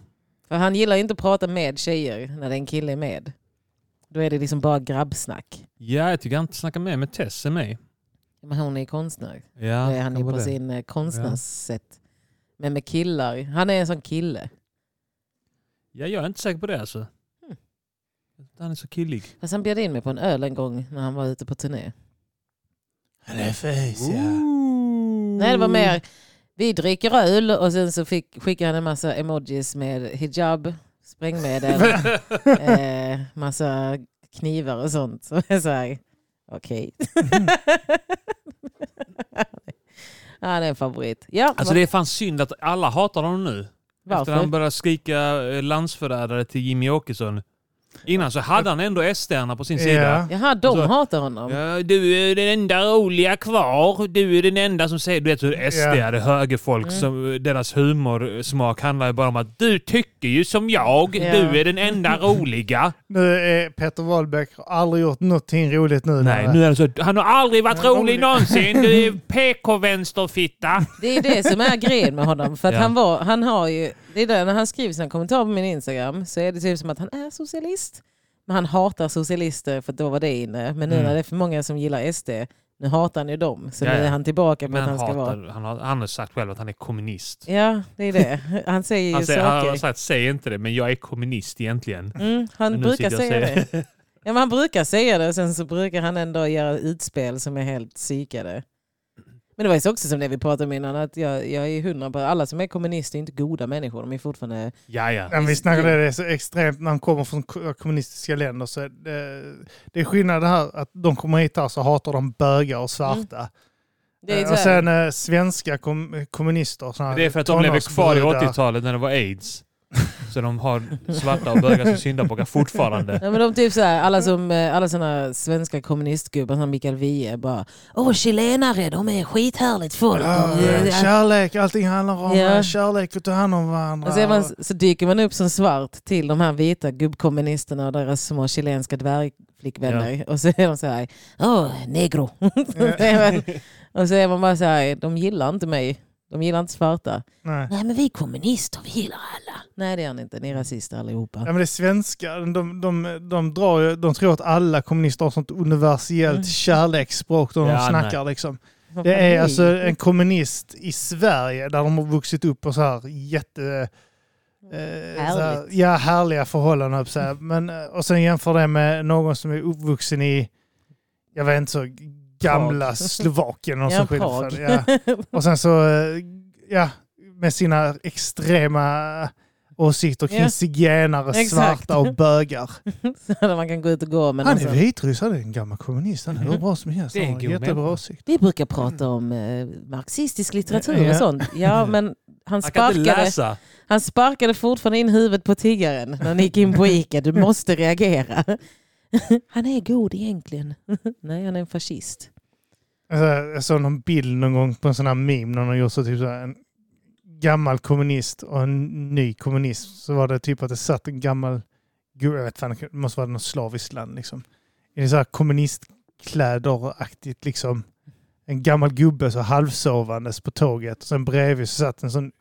Speaker 1: För han gillar ju inte att prata med tjejer när det är en kille är med. Då är det liksom bara grabbsnack.
Speaker 2: ja, jag tycker han snackar mer med Tess än mig.
Speaker 1: Men hon är ju konstnär.
Speaker 2: Ja,
Speaker 1: Då är han
Speaker 2: kan
Speaker 1: ju på
Speaker 2: vara det.
Speaker 1: sin eh, konstnärssätt. Men med killar, han är en sån kille.
Speaker 2: Ja, jag är inte säker på det alltså.
Speaker 1: Hmm.
Speaker 2: Han är så killig.
Speaker 1: Fast han bjöd in mig på en öl en gång när han var ute på turné.
Speaker 3: Hallå face
Speaker 2: Ooh.
Speaker 1: Nej, det var
Speaker 2: Mm.
Speaker 1: mer vi dricker öl och sen så fick, skickade han en massa emojis med hijab, sprängmedel, eh, massa knivar och sånt. Så jag sa okej. Han är en favorit. Ja,
Speaker 2: Alltså det är fan synd att alla hatar honom nu. Efter han
Speaker 1: varför?
Speaker 2: började skrika eh, landsförrädare till Jimmy Åkesson. Innan så hade han ändå SD-arna på sin sida.
Speaker 3: Ja.
Speaker 1: Jaha, de
Speaker 2: Alltså-
Speaker 1: hatar honom.
Speaker 2: Ja, du är den enda roliga kvar. Du är den enda som säger... Du vet hur SD
Speaker 3: Ja.
Speaker 2: är, det högerfolk.
Speaker 1: Mm.
Speaker 2: Som, deras humorsmak handlar ju bara om att du tycker ju som jag.
Speaker 1: Ja.
Speaker 2: Du är den enda roliga.
Speaker 3: Nu är Peter Wahlbeck har aldrig gjort någonting roligt nu.
Speaker 2: Nej,
Speaker 3: när-
Speaker 2: nu är det så. att Han har aldrig varit
Speaker 3: Ja,
Speaker 2: rolig
Speaker 3: rolig.
Speaker 2: någonsin. Du är PK-vänsterfitta.
Speaker 1: Det är det som är grejen med honom. För att
Speaker 2: Ja.
Speaker 1: han, var, han har ju, det är det, när han skriver sina kommentarer på min Instagram så är det typ som att han är socialist. Men han hatar socialister för att då var det inne. Men nu
Speaker 2: Mm.
Speaker 1: när det är för många som gillar SD, nu hatar han ju dem. Så
Speaker 2: Ja,
Speaker 1: nu
Speaker 2: ja.
Speaker 1: är han tillbaka på
Speaker 2: Men
Speaker 1: att
Speaker 2: han,
Speaker 1: han ska vara...
Speaker 2: hatar, han, har, han har sagt själv att han är kommunist.
Speaker 1: Ja, det är det. Han säger ju
Speaker 2: Han, säger, han
Speaker 1: saker.
Speaker 2: har sagt säg inte det, men jag är kommunist egentligen.
Speaker 1: Mm, han
Speaker 2: Men nu
Speaker 1: brukar
Speaker 2: sitter jag och
Speaker 1: säga
Speaker 2: säger
Speaker 1: det. Ja, men han brukar säga det och sen så brukar han ändå göra utspel som är helt psykade. Men det var ju också som det vi pratade om innan, att jag, jag är hundra på alla som är kommunister är inte goda människor. De är fortfarande...
Speaker 2: Ja, ja.
Speaker 3: Ja, men vi snackade det, det är så extremt när de kommer från ko- kommunistiska länder. Så är det, det är skillnad det här att de kommer hit här så hatar de bögar och svarta.
Speaker 1: Mm, Det är
Speaker 3: Eh,
Speaker 1: så
Speaker 3: och
Speaker 1: här-
Speaker 3: sen eh, svenska kom, kommunister. såna här
Speaker 2: Det är för att de lever kvar i
Speaker 3: tonårsbrudar.
Speaker 2: 80-talet när det var aids. Så de har svarta och bögar som syndabockar fortfarande.
Speaker 1: Ja, men de typ såhär, alla, som, eh, alla såna svenska kommunistgubbar som Mikael Wiehe bara Åh chilenare, de är skithärligt folk.
Speaker 3: Ja,
Speaker 1: De-
Speaker 3: eh, kärlek, allting handlar om
Speaker 1: Ja.
Speaker 3: eh, kärlek och ta hand om varandra.
Speaker 1: Och så, är man, så dyker man upp som svart till de här vita gubbkommunisterna och deras små chilenska dvärgflickvänner. Och så är de så här, åh, negro. Det är väl- och så är man bara så här, de gillar inte mig. De gillar inte svarta.
Speaker 3: Nej.
Speaker 1: Nej men vi är kommunister, vi gillar alla. Nej det gör ni inte, ni är rasister allihopa.
Speaker 3: Ja, men det är svenskar, de, de, de, drar, ju- de tror att alla kommunister har sånt universellt
Speaker 1: Mm.
Speaker 3: kärleksspråk då de
Speaker 2: Ja,
Speaker 3: snackar. Liksom. Det är alltså en kommunist i Sverige där de har vuxit upp på så här jätte... Eh, så här,
Speaker 1: Härligt.
Speaker 3: ja, härliga förhållanden. höll jag på att säga. Men, eh, och sen jämför det med någon som är uppvuxen i, jag vet inte, så gamla
Speaker 1: Prag.
Speaker 3: Slovakien. Och,
Speaker 1: Ja,
Speaker 3: så skit.
Speaker 1: Prag.
Speaker 3: ja. och sen så, eh, ja, med sina extrema eh, åsikter kring
Speaker 1: Ja.
Speaker 3: zigenare,
Speaker 1: Exakt.
Speaker 3: svarta och bögar.
Speaker 1: Så man kan gå ut och gå. Men
Speaker 3: Han
Speaker 1: alltså-
Speaker 3: är vitryss, han är en gammal kommunist. Han är hur bra som helst.
Speaker 2: Det är
Speaker 3: Han
Speaker 2: en
Speaker 3: har
Speaker 2: god
Speaker 3: jättebra
Speaker 2: människa.
Speaker 3: åsikt.
Speaker 1: Vi brukar prata om eh, marxistisk litteratur
Speaker 3: Ja.
Speaker 1: och sånt. Ja, men han
Speaker 2: Han kan inte
Speaker 1: sparkade,
Speaker 2: läsa.
Speaker 1: han sparkade fortfarande in huvudet på tiggaren när ni gick in på Ica. Du måste reagera. Han är god egentligen. Nej, han är en fascist.
Speaker 3: Alltså, jag såg någon bild någon gång på en sån här meme när de gjort så typ så här, en gammal kommunist och en ny kommunist. Så var det typ att det satt en gammal, gud jag vet fan, det måste vara något slaviskt land liksom. I så här kommunistkläder-aktigt liksom. En gammal gubbe så halvsovandes på tåget. Och sen bredvid så satt en sån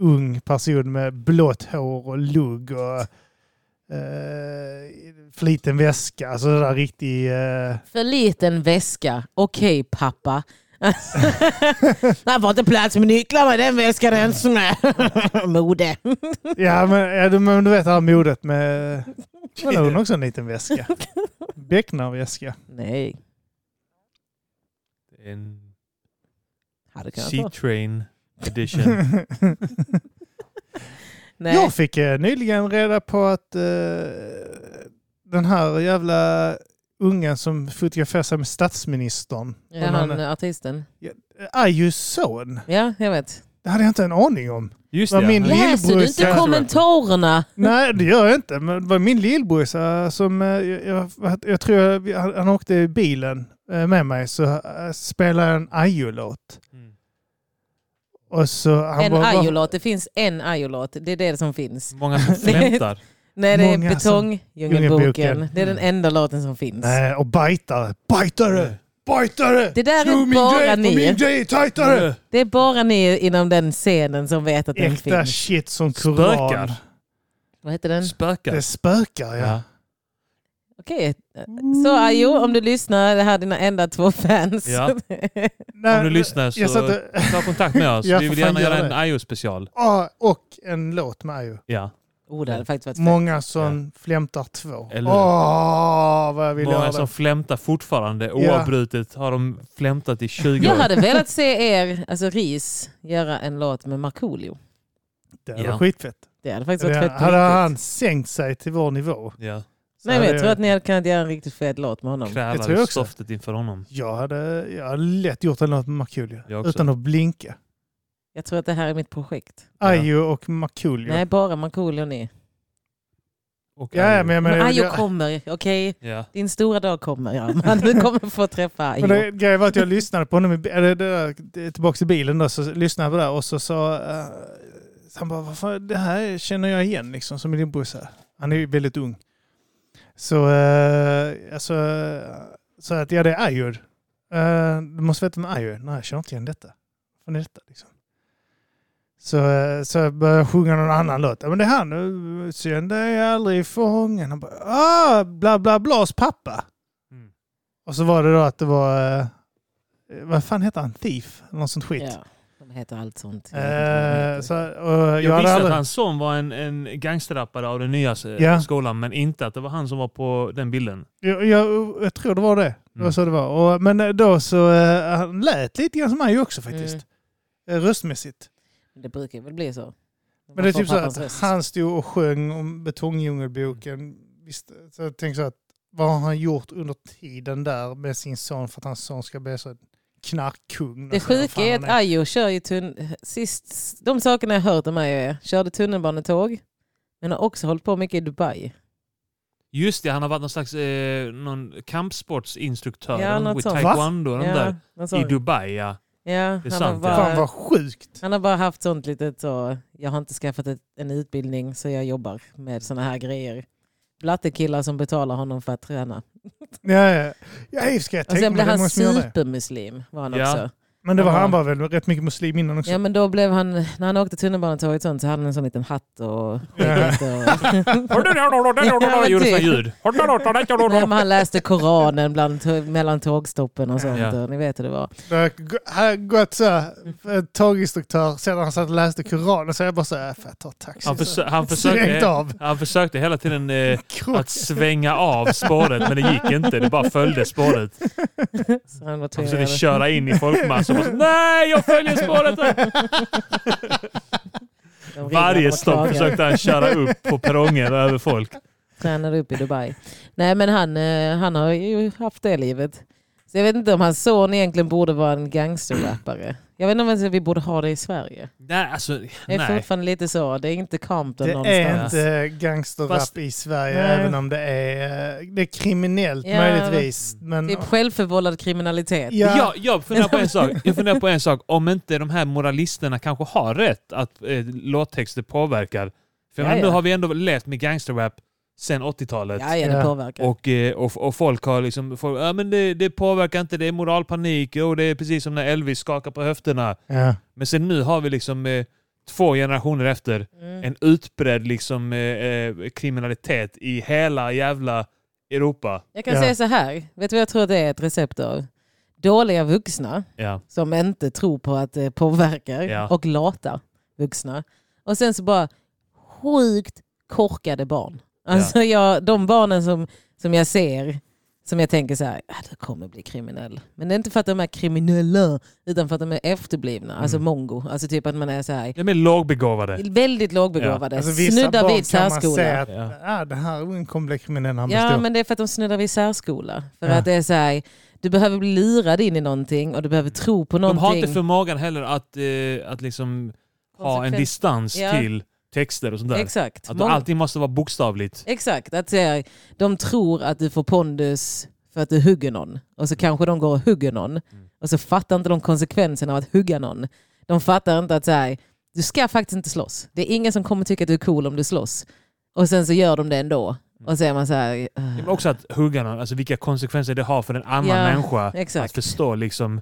Speaker 3: ung person med blått hår och lugg och eh, fliten väska. Alltså det där riktig... Eh,
Speaker 1: För liten väska. Okej, pappa. Alltså, Han får inte plats med nycklarna i den väskan ens. med. Mode.
Speaker 3: Ja men, ja, du, men du vet det här modet med... Hon har hon också en liten väska. Becknarväska.
Speaker 1: Nej,
Speaker 2: En
Speaker 1: hade kunnat vara.
Speaker 2: C-train edition.
Speaker 1: Nej.
Speaker 3: Jag fick eh, nyligen reda på att eh, den här jävla ungen som fotograferade sig med statsministern,
Speaker 1: Är han eh, artisten?
Speaker 3: Ayus son,
Speaker 1: Ja, jag vet.
Speaker 3: det hade jag inte en aning om.
Speaker 2: Just
Speaker 3: Vad
Speaker 2: det.
Speaker 3: min-
Speaker 2: ja.
Speaker 1: Läser du inte
Speaker 3: Lillebrorsan-
Speaker 1: kommentarerna?
Speaker 3: Nej, det gör jag inte. Men det var min lillbrorsa som... eh, Jag, jag, jag tror jag, han, han åkte i bilen eh, med mig så eh, spelade jag en Ayu-låt.
Speaker 2: Mm.
Speaker 3: Och så han
Speaker 1: en
Speaker 3: bara, "Vad-
Speaker 1: ajolåt. Det finns en ajolåt. Det är det som finns.
Speaker 2: Många som flämtar.
Speaker 1: Nej, det är
Speaker 3: Många
Speaker 1: Betongjungelboken.
Speaker 3: Djungelboken. Mm.
Speaker 1: Det är den enda låten som finns.
Speaker 3: Nej, och bajtare. Bajtare! Bajtare!
Speaker 1: Det där är
Speaker 3: Slå min
Speaker 1: bara
Speaker 3: grej,
Speaker 1: ni.
Speaker 3: och Min grej är tajtare!
Speaker 1: Det är bara ni inom den scenen som vet att den
Speaker 3: Äkta
Speaker 1: finns.
Speaker 3: shit som koran.
Speaker 2: Spökar.
Speaker 1: Vad heter den?
Speaker 2: Spökar.
Speaker 3: Det spökar, ja.
Speaker 2: Ja.
Speaker 1: Okej. eh, Så Ayo, om du lyssnar, det här är dina enda två fans.
Speaker 2: Ja.
Speaker 3: Nej,
Speaker 2: Om du lyssnar så
Speaker 3: Jag satte,
Speaker 2: ta kontakt med oss.
Speaker 3: Ja,
Speaker 2: Vi
Speaker 3: för
Speaker 2: vill
Speaker 3: fan
Speaker 2: gärna
Speaker 3: gör
Speaker 2: göra en
Speaker 3: det.
Speaker 2: IO-special.
Speaker 3: ah, och en låt med Ayo.
Speaker 2: Ja.
Speaker 1: Oh, det hade faktiskt varit fett.
Speaker 3: Många som flämtar två.
Speaker 2: Eller-
Speaker 3: Åh, vad jag vill
Speaker 2: Många
Speaker 3: göra
Speaker 2: som
Speaker 3: det.
Speaker 2: flämtar fortfarande.
Speaker 3: Ja.
Speaker 2: Oavbrutet har de flämtat i 20
Speaker 1: Jag
Speaker 2: år.
Speaker 1: hade velat se er, alltså Ris, göra en låt med Markoolio.
Speaker 3: Det var
Speaker 2: Ja.
Speaker 3: skitfett.
Speaker 1: Det hade faktiskt varit
Speaker 3: Det,
Speaker 1: fett på
Speaker 3: hade
Speaker 1: riktigt.
Speaker 3: han sänkt sig till vår nivå
Speaker 2: Ja.
Speaker 3: så
Speaker 1: Nej, men
Speaker 3: hade
Speaker 1: jag tror att ni hade kunnat göra en riktigt fet låt med honom.
Speaker 3: Det tror jag
Speaker 2: Krälar
Speaker 3: också.
Speaker 2: stoftet inför honom.
Speaker 3: jag hade, jag hade lätt gjort en låt med
Speaker 2: Jag
Speaker 3: Markoolio
Speaker 2: också.
Speaker 3: utan att blinka.
Speaker 1: Jag tror att det här är mitt projekt.
Speaker 2: Ja.
Speaker 3: Ayo och Markoolio.
Speaker 1: Nej, bara Markoolio och ni.
Speaker 2: Och
Speaker 3: Ja, ja, men jag
Speaker 1: Men
Speaker 3: menar,
Speaker 1: Ayo
Speaker 3: jag,
Speaker 1: kommer, okej?
Speaker 2: ja.
Speaker 1: Din stora dag kommer, ja. Men du kommer få träffa
Speaker 3: men
Speaker 1: Ayo.
Speaker 3: det, grejen var att jag lyssnade på honom, i, bi- eller det där, det- tillbaka till bilen då, så lyssnade jag på det där och så sa eh, så han bara, vad fan, det här känner jag igen liksom som i din buss här. Han är ju väldigt ung. Så, eh, alltså, eh, så att ja det är Ayo. Eh, du måste veta med Ayo. Nej, jag känner inte igen detta. Vad är detta liksom? Så, eh, så jag började sjunga någon annan låt. Ja, men det är han. eh, Synd är aldrig fången. Han bara, ah, bla bla blas pappa.
Speaker 2: Mm.
Speaker 3: Och så var det då att det var, eh, vad fan heter han? Thief? Eller Något sånt skit.
Speaker 1: Ja, de heter allt sånt. Jag vet inte vad de heter.
Speaker 3: Eh,
Speaker 1: Mm,
Speaker 3: så, och jag,
Speaker 2: Jag
Speaker 3: hade
Speaker 2: visste att
Speaker 3: aldrig,
Speaker 2: hans son var en, en gangsterrappare av den nya eh,
Speaker 3: Ja.
Speaker 2: skolan, men inte att det var han som var på den bilden.
Speaker 3: jag, jag, jag tror det var det. Det var
Speaker 2: Mm.
Speaker 3: så det var. Och, men då så, eh, han lät lite grann som mig också faktiskt. Eh, Röstmässigt.
Speaker 1: Det brukar väl bli så.
Speaker 3: Men
Speaker 1: Mm.
Speaker 3: det är
Speaker 1: Man får
Speaker 3: typ så
Speaker 1: pappans
Speaker 3: att
Speaker 1: röst.
Speaker 3: han stod och sjöng om Betongdjungelboken. Visst, så jag tänker så att vad har han gjort under tiden där med sin son för att hans son ska bli så knarkkung?
Speaker 1: Det
Speaker 3: Alltså, vad
Speaker 1: sjuka
Speaker 3: fan
Speaker 1: är
Speaker 3: han
Speaker 1: att Ayo kör ju tunn... Sist, de sakerna jag hört om Ayo är, körde tunnelbanetåg, men har också hållit på mycket i Dubai.
Speaker 2: Just det, han har varit någon slags eh, någon kampsportsinstruktör.
Speaker 1: Ja, något
Speaker 2: with
Speaker 1: sånt.
Speaker 2: taekwondo och de
Speaker 1: Ja,
Speaker 2: där.
Speaker 1: någon
Speaker 2: I
Speaker 1: sån.
Speaker 2: Dubai, ja.
Speaker 1: ja,
Speaker 2: Det är
Speaker 1: han,
Speaker 2: sant, ja.
Speaker 1: har
Speaker 3: Fan
Speaker 1: bara,
Speaker 3: vad sjukt.
Speaker 1: han har bara haft sånt litet så, jag har inte skaffat ett, en utbildning så jag jobbar med såna här grejer. Blattekillar som betalar honom för att träna.
Speaker 3: Ja, ja. ja hej, ska jag
Speaker 1: Och
Speaker 3: tänka
Speaker 1: sen
Speaker 3: mig
Speaker 1: blev
Speaker 3: det är
Speaker 1: han
Speaker 3: många som gör det.
Speaker 1: supermuslim. Var han
Speaker 2: Ja.
Speaker 1: också.
Speaker 3: Men det var,
Speaker 1: Ja.
Speaker 3: han var väl rätt mycket muslim innan också.
Speaker 1: Ja men då blev han, när han åkte tunnelbanetåget sånt så hade han en sån liten hatt och skägget. Och, men
Speaker 2: Gjorde sådana
Speaker 1: typ.
Speaker 2: ljud.
Speaker 1: Nej, men han läste Koranen bland, mellan tågstoppen och sånt.
Speaker 2: Ja.
Speaker 1: Och ni vet hur det var.
Speaker 3: Det har g- här gått så här, en tåginstruktör sedan han satt och läste Koranen så jag bara så här, "Äh, för jag tar taxi.
Speaker 2: Han,
Speaker 3: Så
Speaker 2: försö- han,
Speaker 3: Svängt
Speaker 2: försökte,
Speaker 3: av.
Speaker 2: han försökte hela tiden eh,
Speaker 3: Krock.
Speaker 2: att svänga av spåret, men det gick inte. Det bara följde spåret.
Speaker 1: Så han var
Speaker 2: Han
Speaker 1: tvungen
Speaker 2: försökte
Speaker 1: att-
Speaker 2: köra in i folkmassan. och bara så, Nej, jag följer spåret!
Speaker 1: de ringde honom
Speaker 2: Varje
Speaker 1: och
Speaker 2: stopp
Speaker 1: klagade.
Speaker 2: försökte han köra upp på perrongen och över folk.
Speaker 1: Tränade upp i Dubai. Nej men han, eh, han har ju haft det livet. Så jag vet inte om hans son egentligen borde vara en gangsterrappare. Jag vet inte om ens vi borde ha det i Sverige.
Speaker 2: Nej, alltså,
Speaker 1: Det är
Speaker 2: nej.
Speaker 1: fortfarande lite så. Det är inte Compton
Speaker 3: Det är
Speaker 1: någonstans.
Speaker 3: inte gangsterrap
Speaker 2: Fast-
Speaker 3: i Sverige
Speaker 1: Nej.
Speaker 3: även om det är, eh, det är kriminellt
Speaker 1: Ja.
Speaker 3: möjligtvis. Men,
Speaker 1: Typ självförvållad kriminalitet.
Speaker 3: ja,
Speaker 2: Jag, jag, funderar på en sak. jag funderar på en sak. Om inte de här moralisterna kanske har rätt att eh, låttexter påverkar. För jag menar,
Speaker 1: Ja, ja.
Speaker 2: nu har vi ändå levt med gangsterrap sedan 80-talet.
Speaker 1: Ja, ja, det
Speaker 3: Ja.
Speaker 1: påverkar.
Speaker 2: Och, eh, och, och folk har liksom... Folk, ja, men det, det påverkar inte, det är moralpanik och det är precis som när Elvis skakar på höfterna.
Speaker 3: ja.
Speaker 2: Men sen nu har vi liksom eh, två generationer efter
Speaker 1: Mm.
Speaker 2: en utbredd liksom, eh, eh, kriminalitet i hela jävla Europa.
Speaker 1: Jag kan
Speaker 3: Ja.
Speaker 1: säga så här. Vet du vad jag tror det är ett recept av? Dåliga vuxna
Speaker 2: Ja.
Speaker 1: som inte tror på att det påverkar
Speaker 2: Ja.
Speaker 1: och lata vuxna. Och sen så bara sjukt korkade barn. Alltså jag, de barnen som, som jag ser, som jag tänker så här, "Ah, du kommer bli kriminell. Men det är inte för att de är kriminella, utan för att de är efterblivna. Alltså
Speaker 2: Mm.
Speaker 1: mongo. Alltså typ att man är så här,
Speaker 2: De är lågbegåvade.
Speaker 1: väldigt lågbegåvade.
Speaker 3: Alltså, vissa
Speaker 1: snuddar
Speaker 3: barn
Speaker 1: vid
Speaker 3: kan man
Speaker 1: särskola.
Speaker 3: säga att
Speaker 2: Ja.
Speaker 3: ah, den här ungen kommer bli kriminell när han blir
Speaker 1: Ja,
Speaker 3: stor.
Speaker 1: men det är för att de snuddar vid särskola. För
Speaker 3: Ja.
Speaker 1: att det är så här, du behöver bli lurad in i någonting och du behöver tro på
Speaker 2: De
Speaker 1: någonting.
Speaker 2: har inte förmågan heller att, eh, att liksom ha en
Speaker 1: Konsekvent.
Speaker 2: distans
Speaker 1: Ja.
Speaker 2: till texter och sånt där.
Speaker 1: Exakt.
Speaker 2: Att
Speaker 1: Många-
Speaker 2: allting måste vara bokstavligt.
Speaker 1: Exakt, att säga, de tror att du får pondus för att du hugger någon. Och så
Speaker 2: Mm.
Speaker 1: kanske de går och hugger någon. Och så fattar inte de konsekvenserna av att hugga någon. De fattar inte att så här, du ska faktiskt inte slåss. Det är ingen som kommer tycka att du är cool om du slåss. Och sen så gör de det ändå.
Speaker 2: Mm.
Speaker 1: Och så är man så här... "Ah."
Speaker 2: Men också att hugga någon, alltså vilka konsekvenser det har för en annan
Speaker 1: Ja,
Speaker 2: människa. Att
Speaker 1: exakt.
Speaker 2: förstå liksom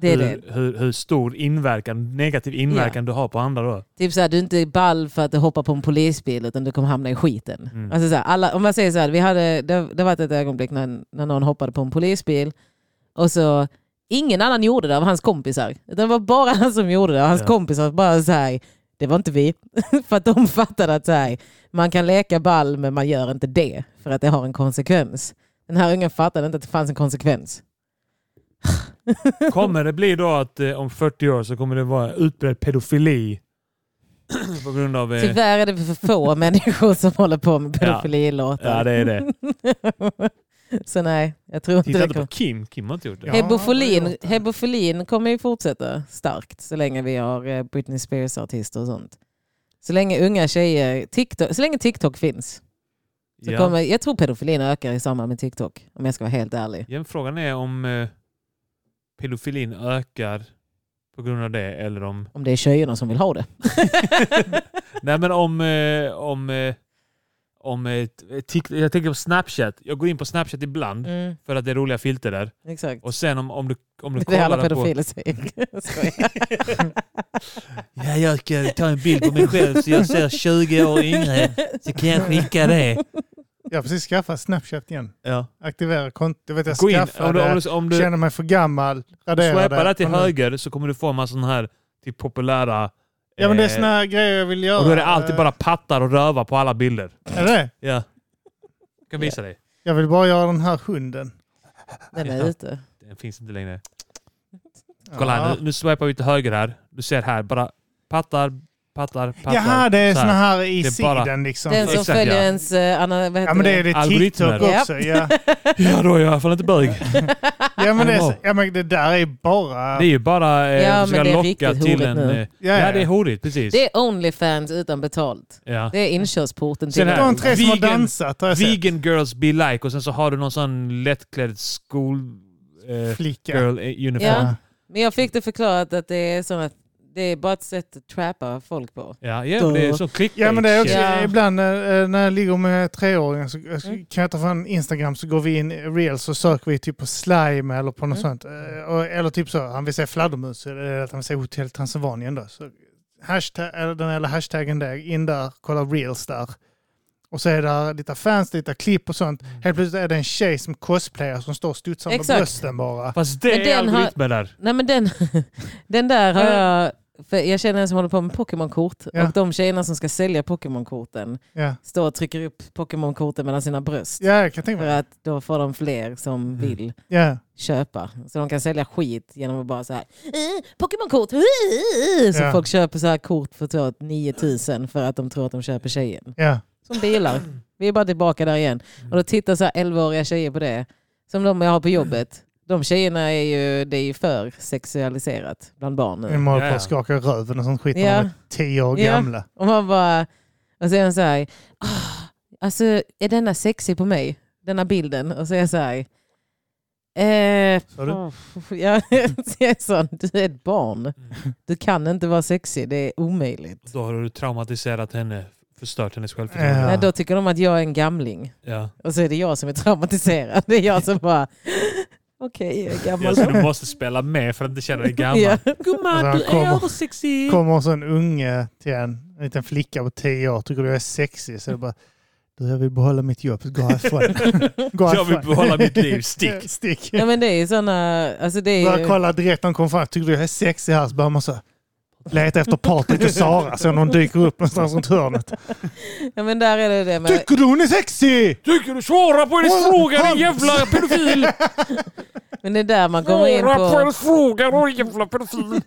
Speaker 1: Det är det.
Speaker 2: hur, hur, hur stor inverkan, negativ inverkan du har på andra då.
Speaker 1: Typ såhär, du är inte ball för att du hoppar på en polisbil utan du kommer hamna i skiten.
Speaker 2: Mm.
Speaker 1: Alltså såhär, alla, om man säger såhär, vi hade, det, det var ett ögonblick när, när någon hoppade på en polisbil och så ingen annan gjorde det av hans kompisar. Utan det var bara han som gjorde det och hans
Speaker 2: Ja.
Speaker 1: kompisar bara såhär, Det var inte vi. för att de fattade att så här, man kan leka ball men man gör inte det för att det har en konsekvens. Den här ungen fattade inte att det fanns en konsekvens.
Speaker 2: Kommer det bli då att eh, om 40 år så kommer det vara utbredd pedofili? på grund av... Eh,
Speaker 1: Tyvärr är det för få människor som håller på med pedofililåtar.
Speaker 2: ja, det är det.
Speaker 1: Så nej, jag tror inte
Speaker 2: Titta
Speaker 1: det
Speaker 2: inte på
Speaker 1: kommer.
Speaker 2: Kim. Kim har inte gjort det.
Speaker 3: Ja. det
Speaker 1: Hebofilin,
Speaker 3: låter.
Speaker 1: hebofilin kommer ju fortsätta starkt så länge vi har eh, Britney Spears-artister och sånt. Så länge unga tjejer, TikTok, så länge TikTok finns. Så
Speaker 2: Ja.
Speaker 1: kommer, jag tror pedofilin ökar i samband med TikTok, om jag ska vara helt ärlig.
Speaker 2: Igen, Frågan är om eh, pedofilin ökar på grund av det eller om...
Speaker 1: Om det är tjejerna som vill ha det.
Speaker 2: Nej men om... Eh, om eh, om eh, t- tik- jag tänker på Snapchat. Jag går in på Snapchat ibland
Speaker 1: Mm,
Speaker 2: för att det är roliga filter där.
Speaker 1: exakt.
Speaker 2: Och sen om, om du, om du
Speaker 1: Det är alla
Speaker 2: kollar på...
Speaker 1: pedofiler säger. Jag skojar.
Speaker 2: Ja, jag ska ta en bild på mig själv så jag ser 20 år yngre. Så kan jag skicka det.
Speaker 3: Jag har precis skaffat Snapchat igen.
Speaker 2: Ja.
Speaker 3: Aktivera kontot. Jag vet jag
Speaker 2: Gå in. Om
Speaker 3: skaffade,
Speaker 2: du, om du, om du
Speaker 3: känner mig för gammal, radera
Speaker 2: swipar där
Speaker 3: det.
Speaker 2: till
Speaker 3: Men nu-
Speaker 2: höger så kommer du få en massa sådana här till populära...
Speaker 3: Ja men det är
Speaker 2: eh,
Speaker 3: såna här grejer jag vill göra.
Speaker 2: Och då är det alltid
Speaker 3: Eh,
Speaker 2: bara pattar och rövar på alla bilder.
Speaker 3: Är det?
Speaker 2: Ja. Jag kan visa dig.
Speaker 3: Jag vill bara göra den här hunden.
Speaker 1: Den
Speaker 2: Ja.
Speaker 1: är ute.
Speaker 2: Den finns inte längre.
Speaker 3: Ja.
Speaker 2: Kolla här, nu, nu swipar vi till höger här. Du ser här, bara pattar, pattar, pattar.
Speaker 3: Jaha, det är
Speaker 2: Så
Speaker 3: såna här i
Speaker 2: Det är bara-
Speaker 3: sidan liksom.
Speaker 1: Den som
Speaker 2: Exakt, ja.
Speaker 1: följer ens... eh, Anna, vad heter
Speaker 3: Ja men det är det
Speaker 2: Algoritmer.
Speaker 3: TikTok också. Ja.
Speaker 2: Ja, då är jag i alla fall inte bög.
Speaker 3: Ja, men det är, så- ja men det där är bara...
Speaker 2: Det är ju bara eh,
Speaker 1: Ja, men
Speaker 2: att försöka
Speaker 1: det är
Speaker 2: locka
Speaker 1: riktigt
Speaker 2: till
Speaker 1: horigt
Speaker 2: en...
Speaker 1: nu.
Speaker 2: Eh,
Speaker 3: Ja, ja.
Speaker 2: ja, det är horigt. Precis.
Speaker 1: Det är Onlyfans utan betalt.
Speaker 2: ja.
Speaker 1: Det är inkörsporten
Speaker 2: Sen
Speaker 1: till...
Speaker 2: här.
Speaker 3: de tre som har
Speaker 2: Vegan-
Speaker 3: dansat har jag sett.
Speaker 2: Vegan girls be like och sen så har du någon sån lättklädd skol... Eh,
Speaker 3: Flicka.
Speaker 2: girl eh, uniform.
Speaker 1: Ja.
Speaker 2: Ja.
Speaker 1: Men jag fick det förklarat att det är såna, det är bara ett sätt att trappa folk på.
Speaker 2: Ja, det är så clickbait.
Speaker 3: Ja men det är också,
Speaker 2: shit.
Speaker 1: Ja.
Speaker 3: ibland eh, när jag ligger med treåringar så eh, så
Speaker 1: Mm.
Speaker 3: kan jag ta fram Instagram så går vi in i reels och söker vi typ på slime eller på något
Speaker 1: Mm.
Speaker 3: sånt. Eh, och- Eller typ så, han vill säga fladdermus eh, eller att han vill säga hotell Transylvanien då. Så hashtag, eller den eller hashtaggen där, in där, kolla reels där. Och så är det lite fans, lite klipp och sånt. Helt plötsligt är det en tjej som cosplayar som står och studsar med
Speaker 1: Mm. Exakt.
Speaker 3: brösten bara.
Speaker 2: Fast det
Speaker 1: Men
Speaker 2: är
Speaker 1: den har-
Speaker 2: algoritmer där.
Speaker 1: Nej men den, den där har jag... För jag känner en som håller på med Pokémon-kort.
Speaker 3: Ja.
Speaker 1: Och de tjejerna som ska sälja Pokémon-korten
Speaker 3: Ja,
Speaker 1: står och trycker upp Pokémon-korten mellan sina bröst.
Speaker 3: ja Mm. jag kan tänka
Speaker 1: För
Speaker 3: mig.
Speaker 1: att då får de fler som vill
Speaker 3: Ja.
Speaker 1: köpa. Så de kan sälja skit genom att bara så här, "Eh, Pokémon-kort! eh, eh, eh." Så
Speaker 3: Ja.
Speaker 1: folk köper så här kort för tror jag, 9000 för att de tror att de köper tjejen.
Speaker 3: Ja.
Speaker 1: Som bilar. Vi är bara tillbaka där igen. Och då tittar så här 11-åriga tjejer på det. Som de jag har på jobbet. De tjejerna är ju, det är ju för sexualiserat bland barn
Speaker 3: Min
Speaker 1: nu.
Speaker 3: mor
Speaker 2: Ja, ja.
Speaker 3: yeah. skakar i röven och sånt skit när
Speaker 1: Ja.
Speaker 3: de är tio år
Speaker 1: Ja.
Speaker 3: gamla.
Speaker 1: Och man bara, och så är de så här, "Ah, alltså är denna sexig på mig? Denna bilden? Och så är jag så här, eh,
Speaker 3: Sa du?
Speaker 1: jag är sån, du är ett barn. Du kan inte vara sexig, det är omöjligt.
Speaker 2: Då har du traumatiserat henne, förstört hennes
Speaker 3: Ja.
Speaker 2: självförtroende.
Speaker 1: Nej, då tycker de att jag är en gamling.
Speaker 2: Ja.
Speaker 1: Och så är det jag som är traumatiserad. Det är jag som bara, okej, jag är
Speaker 2: Ja,
Speaker 1: gammal.
Speaker 2: så du måste spela med för att inte känna dig gammal.
Speaker 1: Ja.
Speaker 3: Och sen
Speaker 2: Gumman, du
Speaker 3: kommer-
Speaker 2: är översexig!
Speaker 3: kommer en sån unge till en, en liten flicka på tio år, tycker du jag är sexig, så är det bara du, jag vill behålla mitt jobb, gå härifrån. Gå
Speaker 2: Jag vill behålla mitt liv, stick!
Speaker 3: Stick.
Speaker 1: Ja men det är ju sådana, alltså det är
Speaker 3: Börjar
Speaker 1: ju,
Speaker 3: kolla direkt när de kommer fram, tycker du jag är sexig här, så börjar man så här, leta efter Patrik och Sara, så någon dyker upp någonstans runt hörnet.
Speaker 1: ja men där är det det med,
Speaker 3: Tycker du hon är sexig?
Speaker 2: Tycker du svara på hennes
Speaker 3: Åh,
Speaker 2: fråga din
Speaker 3: han-
Speaker 2: jävla pedofil!
Speaker 1: men det är där man kommer in
Speaker 2: Svara på
Speaker 1: på,
Speaker 2: hennes fråga din jävla pedofil!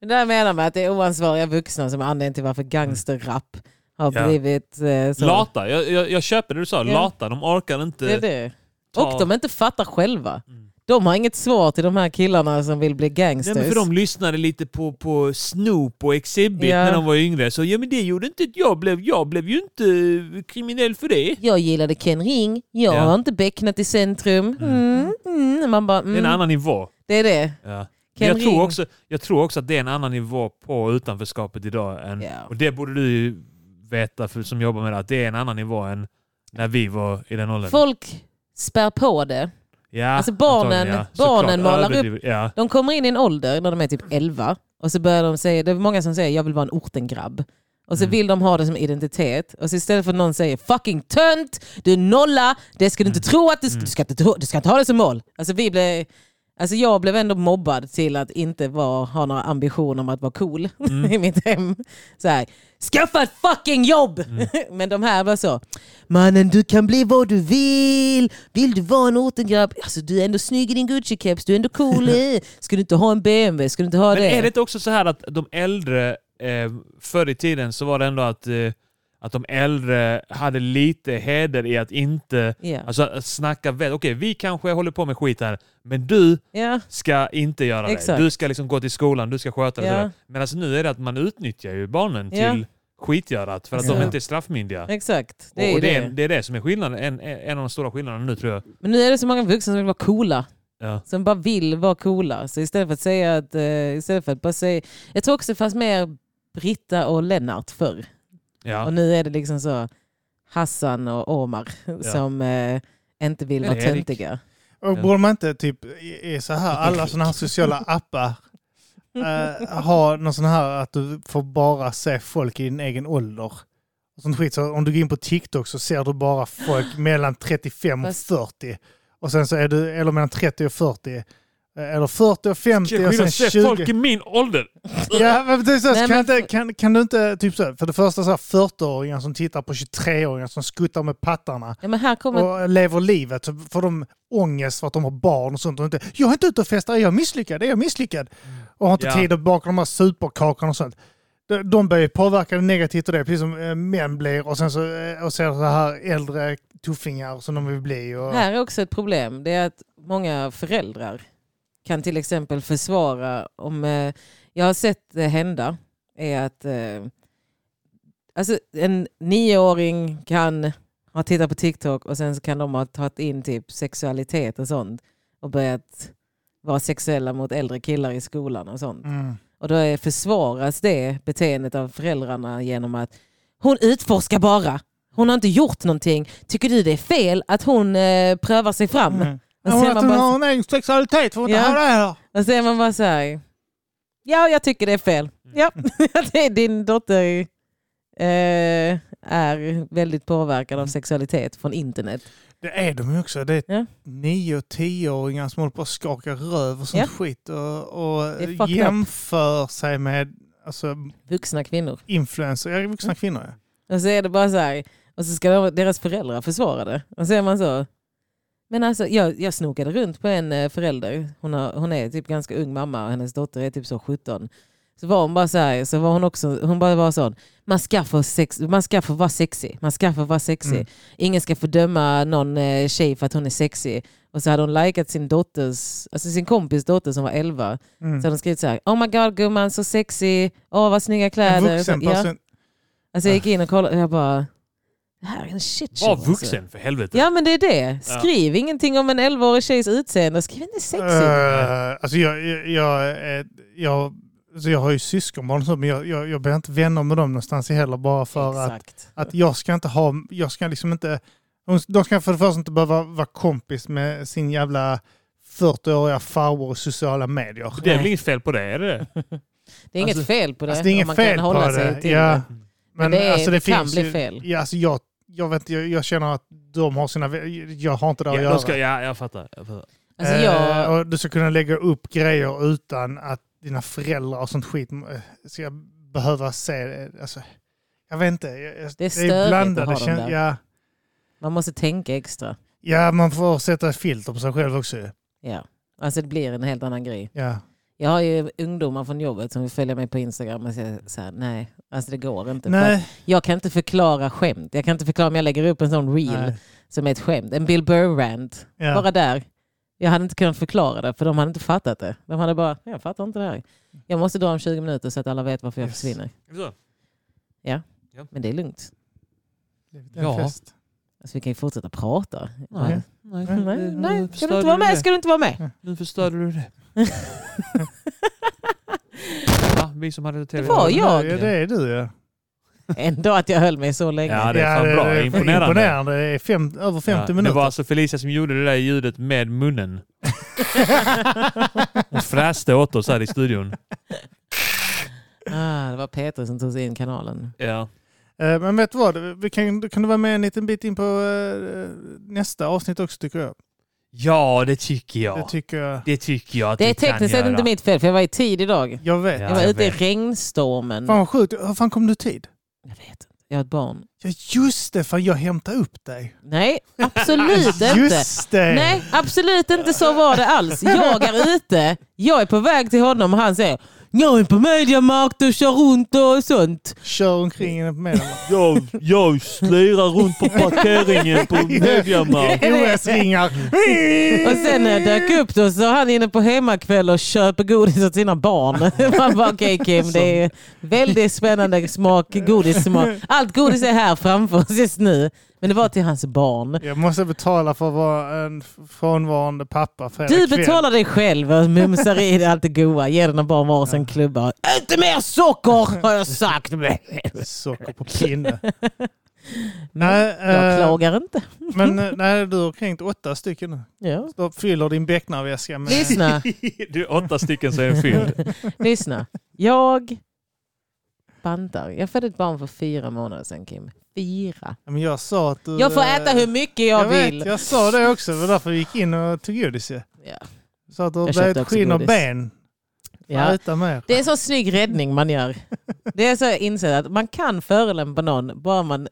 Speaker 1: det där menar man att det är oansvariga vuxna som är anledningen till varför gangsterrap har
Speaker 2: Ja.
Speaker 1: blivit eh, så.
Speaker 2: Lata, jag, jag, jag köper det du sa.
Speaker 1: Ja.
Speaker 2: Lata, de orkar inte.
Speaker 1: det är det.
Speaker 2: eh, Ta-
Speaker 1: Och de inte fattar själva.
Speaker 2: Mm.
Speaker 1: De har inget svar till de här killarna som vill bli
Speaker 2: Nej,
Speaker 1: gangsters.
Speaker 2: men för de lyssnade lite på, på Snoop och Exhibit
Speaker 1: Ja.
Speaker 2: när de var yngre. Så ja, men det gjorde inte att jag blev, jag blev ju inte kriminell för det.
Speaker 1: Jag gillade Ken Ring, jag
Speaker 2: Ja.
Speaker 1: har inte becknat i centrum. Mm, mm. Man bara,
Speaker 2: Det är en
Speaker 1: mm.
Speaker 2: annan nivå.
Speaker 1: Det är det.
Speaker 2: Ja.
Speaker 1: Ken
Speaker 2: Men jag, tror
Speaker 1: Ring.
Speaker 2: också, jag tror också att det är en annan nivå på utanförskapet idag. Än,
Speaker 1: Ja.
Speaker 2: Och det borde du ju veta för, som jobbar med det, att det är en annan nivå än när vi var i den åldern.
Speaker 1: Folk spär på det.
Speaker 2: ja,
Speaker 1: alltså barnen-
Speaker 2: antagligen,
Speaker 1: barnen
Speaker 2: Såklart,
Speaker 1: målar upp-
Speaker 2: överdrivet, Ja.
Speaker 1: De kommer in i en ålder när de är typ 11 och så börjar de säga, det är många som säger jag vill vara en ortengrabb. Och så
Speaker 2: Mm.
Speaker 1: vill de ha det som identitet. Och så istället för att någon säger fucking
Speaker 2: Mm.
Speaker 1: tönt, du är nolla, det ska du inte tro att du ska, du ska, inte, tro- du ska inte ha det som mål. Alltså vi blev, Alltså jag blev ändå mobbad till att inte vara, ha några ambitioner om att vara cool
Speaker 2: Mm.
Speaker 1: i mitt hem. Så här, skaffa ett fucking jobb!
Speaker 2: Mm.
Speaker 1: Men de här var så, mannen du kan bli vad du vill, vill du vara en ortengrabb, alltså, du är ändå snygg i din Gucci-keps, du är ändå cool, eh. ska du inte ha en BMW, ska du inte ha
Speaker 2: Men
Speaker 1: det?
Speaker 2: är det inte också så här att de äldre, eh, förr i tiden så var det ändå att, eh, att de äldre hade lite heder i att inte
Speaker 1: Ja.
Speaker 2: alltså, att snacka väl. Okej, vi kanske håller på med skit här, men du
Speaker 1: Ja.
Speaker 2: ska inte göra
Speaker 1: Exakt.
Speaker 2: det. Du ska liksom gå till skolan, du ska sköta det.
Speaker 1: Ja.
Speaker 2: Yeah. Men alltså, nu är det att man utnyttjar ju barnen
Speaker 1: Ja.
Speaker 2: till skitgörat för att de
Speaker 1: Ja.
Speaker 2: inte är straffmyndiga.
Speaker 1: Exakt. Det
Speaker 2: och,
Speaker 1: är
Speaker 2: och
Speaker 1: ju
Speaker 2: det,
Speaker 1: det.
Speaker 2: är, det är det som är skillnaden, en, en av de stora skillnaderna nu tror jag.
Speaker 1: Men nu är det så många vuxna som vill vara coola.
Speaker 2: Ja.
Speaker 1: Som bara vill vara coola. Så istället för att säga att... Eh, istället för att bara säga, jag tror också det fanns mer Britta och Lennart förr.
Speaker 2: Ja.
Speaker 1: Och nu är det liksom så Hassan och Omar som eh, inte vill
Speaker 2: Eller
Speaker 1: vara
Speaker 2: Erik.
Speaker 1: töntiga.
Speaker 3: Och
Speaker 2: Ja.
Speaker 3: borde man inte typ i i så här, alla sådana här sociala appar eh, ha någon sån här att du får bara se folk i din egen ålder? Och sånt skit. Så om du går in på TikTok så ser du bara folk mellan 35 och
Speaker 1: Fast-
Speaker 3: 40. Och sen så är du, eller mellan 30 och 40. eh, Eller 40 och 50 och sen
Speaker 2: Jag se
Speaker 3: 20.
Speaker 2: folk i min ålder!
Speaker 3: Ja, men precis, så,
Speaker 1: Nej,
Speaker 3: kan,
Speaker 1: men-
Speaker 3: inte, kan, kan du inte, typ så, här, för det första så här 40-åringar som tittar på 23-åringar som skuttar med pattarna
Speaker 1: Ja, men här kommer...
Speaker 3: och lever livet så får de ångest för att de har barn och sånt. Och inte, jag är inte ute och festar, är jag misslyckad? Är jag misslyckad? Och har inte
Speaker 2: Ja.
Speaker 3: tid att baka de här superkakorna och sånt. De- De blir ju påverkade negativt och det, precis som eh, män blir och sen så, eh, och ser så här äldre tuffingar som de vill bli. Och,
Speaker 1: Här är också ett problem. Det är att många föräldrar kan till exempel försvara om... Eh, jag har sett det hända. Är att eh, alltså, en nioåring kan ha tittat på TikTok och sen så kan de ha tagit in typ sexualitet och sånt. Och börjat vara sexuella mot äldre killar i skolan och sånt.
Speaker 3: Mm.
Speaker 1: Och då är- försvaras det beteendet av föräldrarna genom att hon utforskar bara. Hon har inte gjort någonting. Tycker du det är fel att hon eh, prövar sig fram?
Speaker 3: Mm.
Speaker 1: Och
Speaker 3: Hon
Speaker 1: sen
Speaker 3: att
Speaker 1: man
Speaker 3: hon
Speaker 1: bara-
Speaker 3: har en egen sexualitet, får inte
Speaker 1: Ja.
Speaker 3: ha det här.
Speaker 1: Och så är man bara så här. Ja, jag tycker det är fel. Ja, det är din dotter eh, är väldigt påverkad av sexualitet från internet.
Speaker 3: Det är de ju också. Det är
Speaker 1: Ja.
Speaker 3: nio och tioåringar som håller på att skaka röv och sånt
Speaker 1: Ja.
Speaker 3: skit och, och
Speaker 1: Det är fucked up.
Speaker 3: jämför sig med alltså,
Speaker 1: Vuxna kvinnor.
Speaker 3: influencer, ja, vuxna
Speaker 2: Mm.
Speaker 3: kvinnor. Ja.
Speaker 1: Och så är det bara så här. Och så ska de, deras föräldrar försvara det. Och så är man så. Men alltså, jag, jag snokade runt på en eh, förälder. Hon, har, hon är typ ganska ung mamma och hennes dotter är typ så 17. Så var hon bara så här, så var hon också, hon bara var sån. Man ska få, sex, man ska få vara sexig. Man ska få vara sexig.
Speaker 3: Mm.
Speaker 1: Ingen ska få döma någon eh, tjej för att hon är sexig. Och så hade hon likat sin dotters, alltså sin kompis dotter som var 11.
Speaker 3: Mm.
Speaker 1: Så hade hon skrivit så här, oh my god gumman så sexig, åh vad snygga
Speaker 3: En
Speaker 1: kläder.
Speaker 3: vuxen
Speaker 1: så, ja.
Speaker 3: person.
Speaker 1: Alltså jag
Speaker 3: Ah.
Speaker 1: gick in och kollade och jag bara, det här är en shit show,
Speaker 2: Var
Speaker 1: alltså."
Speaker 2: vuxen för helvete!
Speaker 1: Ja men det är det.
Speaker 2: Ja.
Speaker 1: Skriv ingenting om en 11-årig tjejs utseende. Skriv inte sexigt.
Speaker 3: Eh, alltså jag, jag, jag, eh, jag, alltså jag har ju syskonbarn och så, men jag, jag, jag blir inte vänner med dem någonstans heller bara för att,
Speaker 1: Exakt.
Speaker 3: att jag ska inte ha, jag ska liksom inte, de- de ska för det första inte behöva vara kompis med sin jävla 40-åriga farbror i sociala medier.
Speaker 2: Det är väl
Speaker 1: Nej.
Speaker 2: inget fel på det? Är det?
Speaker 1: det är inget
Speaker 2: alltså-
Speaker 1: fel på det.
Speaker 3: Alltså det är
Speaker 1: om
Speaker 3: inget
Speaker 1: man
Speaker 3: fel
Speaker 1: kan hålla
Speaker 3: på
Speaker 1: sig
Speaker 3: det.
Speaker 1: till
Speaker 3: Ja. alltså,
Speaker 1: det. Men det är- det kan
Speaker 3: finns
Speaker 1: bli
Speaker 3: ju-
Speaker 1: fel.
Speaker 3: Ja, alltså jag, jag, vet, inte, jag, jag känner att de har sina... Jag har inte det att
Speaker 2: Ja,
Speaker 3: göra.
Speaker 2: de ska, ja, jag fattar. Jag fattar.
Speaker 1: Alltså
Speaker 3: Eh,
Speaker 1: jag,
Speaker 3: och du ska kunna lägga upp grejer utan att dina föräldrar och sånt skit eh, ska behöva se. det. Alltså, jag vet inte. Jag, jag-
Speaker 1: Det är störigt att
Speaker 3: blandade
Speaker 1: ha dem
Speaker 3: kän-
Speaker 1: där.
Speaker 3: ja,
Speaker 1: man måste tänka extra.
Speaker 3: ja, man får sätta filter på sig själv också. ju.
Speaker 1: Ja. Alltså det blir en helt annan grej.
Speaker 3: Ja.
Speaker 1: Jag har ju ungdomar från jobbet som vill följa mig på Instagram och säger så här, nej, alltså det går inte. För att
Speaker 3: Nej.
Speaker 1: Jag kan inte förklara skämt. Jag kan inte förklara om jag lägger upp en sån reel
Speaker 3: Nej.
Speaker 1: som är ett skämt. En Bill Burr-rant.
Speaker 3: Ja.
Speaker 1: Bara där. Jag hade inte kunnat förklara det, för de hade inte fattat det. De hade bara, jag fattar inte det här. Jag måste dra om 20 minuter så att alla vet varför jag
Speaker 3: Yes.
Speaker 1: försvinner.
Speaker 2: Är det så?
Speaker 1: Men det är lugnt.
Speaker 3: Det är en
Speaker 2: Ja.
Speaker 3: fest.
Speaker 1: Alltså, vi kan ju fortsätta prata.
Speaker 2: Nej.
Speaker 1: Nej, nej,
Speaker 2: Mm.
Speaker 1: nej. Ska du inte vara med ska du inte vara med.
Speaker 2: Nu förstörde du det. Ja, vi som hade tv.
Speaker 1: Det var jag.
Speaker 3: Ja, det är du ja.
Speaker 1: Ändå att jag höll mig så länge.
Speaker 2: Ja, det är fan bra. Imponerande.
Speaker 3: imponerande. Det är fem, över 50
Speaker 2: Ja,
Speaker 3: minuter.
Speaker 2: Det var alltså Felicia som gjorde det där ljudet med munnen. Hon fräste åt oss här i studion.
Speaker 1: Ah, det var Peter som tog sig in kanalen.
Speaker 2: Ja.
Speaker 3: Eh, Men vet du vad, vi kan, kan du vara med en liten bit in på eh, nästa avsnitt också tycker jag.
Speaker 2: Ja, det tycker jag.
Speaker 3: Det
Speaker 2: Det,
Speaker 3: tycker jag.
Speaker 2: tycker jag att
Speaker 1: Det
Speaker 2: vi
Speaker 1: är
Speaker 2: kan
Speaker 1: tekniskt sett
Speaker 2: göra.
Speaker 1: inte mitt fel för jag var i tid idag.
Speaker 3: Jag vet.
Speaker 2: Ja.
Speaker 1: Jag var
Speaker 2: jag
Speaker 1: ute i
Speaker 2: vet.
Speaker 1: regnstormen.
Speaker 3: Fan vad sjukt. Hur fan kom du i tid?
Speaker 1: Jag vet inte. Jag har ett barn.
Speaker 3: Ja just det, fan jag hämtade upp dig.
Speaker 1: Nej, absolut inte.
Speaker 3: Just det!
Speaker 1: Nej, absolut inte så var det alls. Jag är ute, jag är på väg till honom och han säger jag är på mediamarkt och kör runt och sånt.
Speaker 3: Kör omkring med dem.
Speaker 2: Jag, jag slirar runt på parkeringen på Mediamarkt.
Speaker 3: OS-ringar.
Speaker 1: Och sen när jag dök upp då så var han inne på hemmakväll och köper godis åt sina barn. Man bara okej Kim, det är väldigt spännande smak, godissmak. Allt godis är här framför oss just nu. Men det var till hans barn.
Speaker 3: Jag måste betala för att vara en frånvarande pappa fredag
Speaker 1: Du
Speaker 3: kväll.
Speaker 1: betalar dig själv och mumsar i dig allt det goa. Ger dina barn var sin klubba. Inte mer socker har jag sagt.
Speaker 3: Socker på pinne. nej, eh,
Speaker 1: Mm. Jag klagar inte.
Speaker 3: men eh, nej, du har kränkt åtta stycken nu.
Speaker 1: Ja.
Speaker 3: Då fyller din becknarväska med...
Speaker 1: Lyssna,
Speaker 2: Du, åtta stycken så är en fylld.
Speaker 1: lyssna. Jag bantar. Jag födde ett barn för fyra månader sedan Kim. Fyra.
Speaker 3: Ja, Men jag sa att du...
Speaker 1: Jag får äta hur mycket jag, vill.
Speaker 3: Vet, jag sa det också, det var därför vi gick in och tog godis ju.
Speaker 1: Ja.
Speaker 3: Så att du har
Speaker 1: Jag köpte
Speaker 3: blivit
Speaker 1: också
Speaker 3: skinn och
Speaker 1: godis.
Speaker 3: ben. Ja.
Speaker 1: Ja.
Speaker 3: Äta mer.
Speaker 1: Det är så snygg räddning man gör. Det är så jag inser att man kan förolämpa någon bara man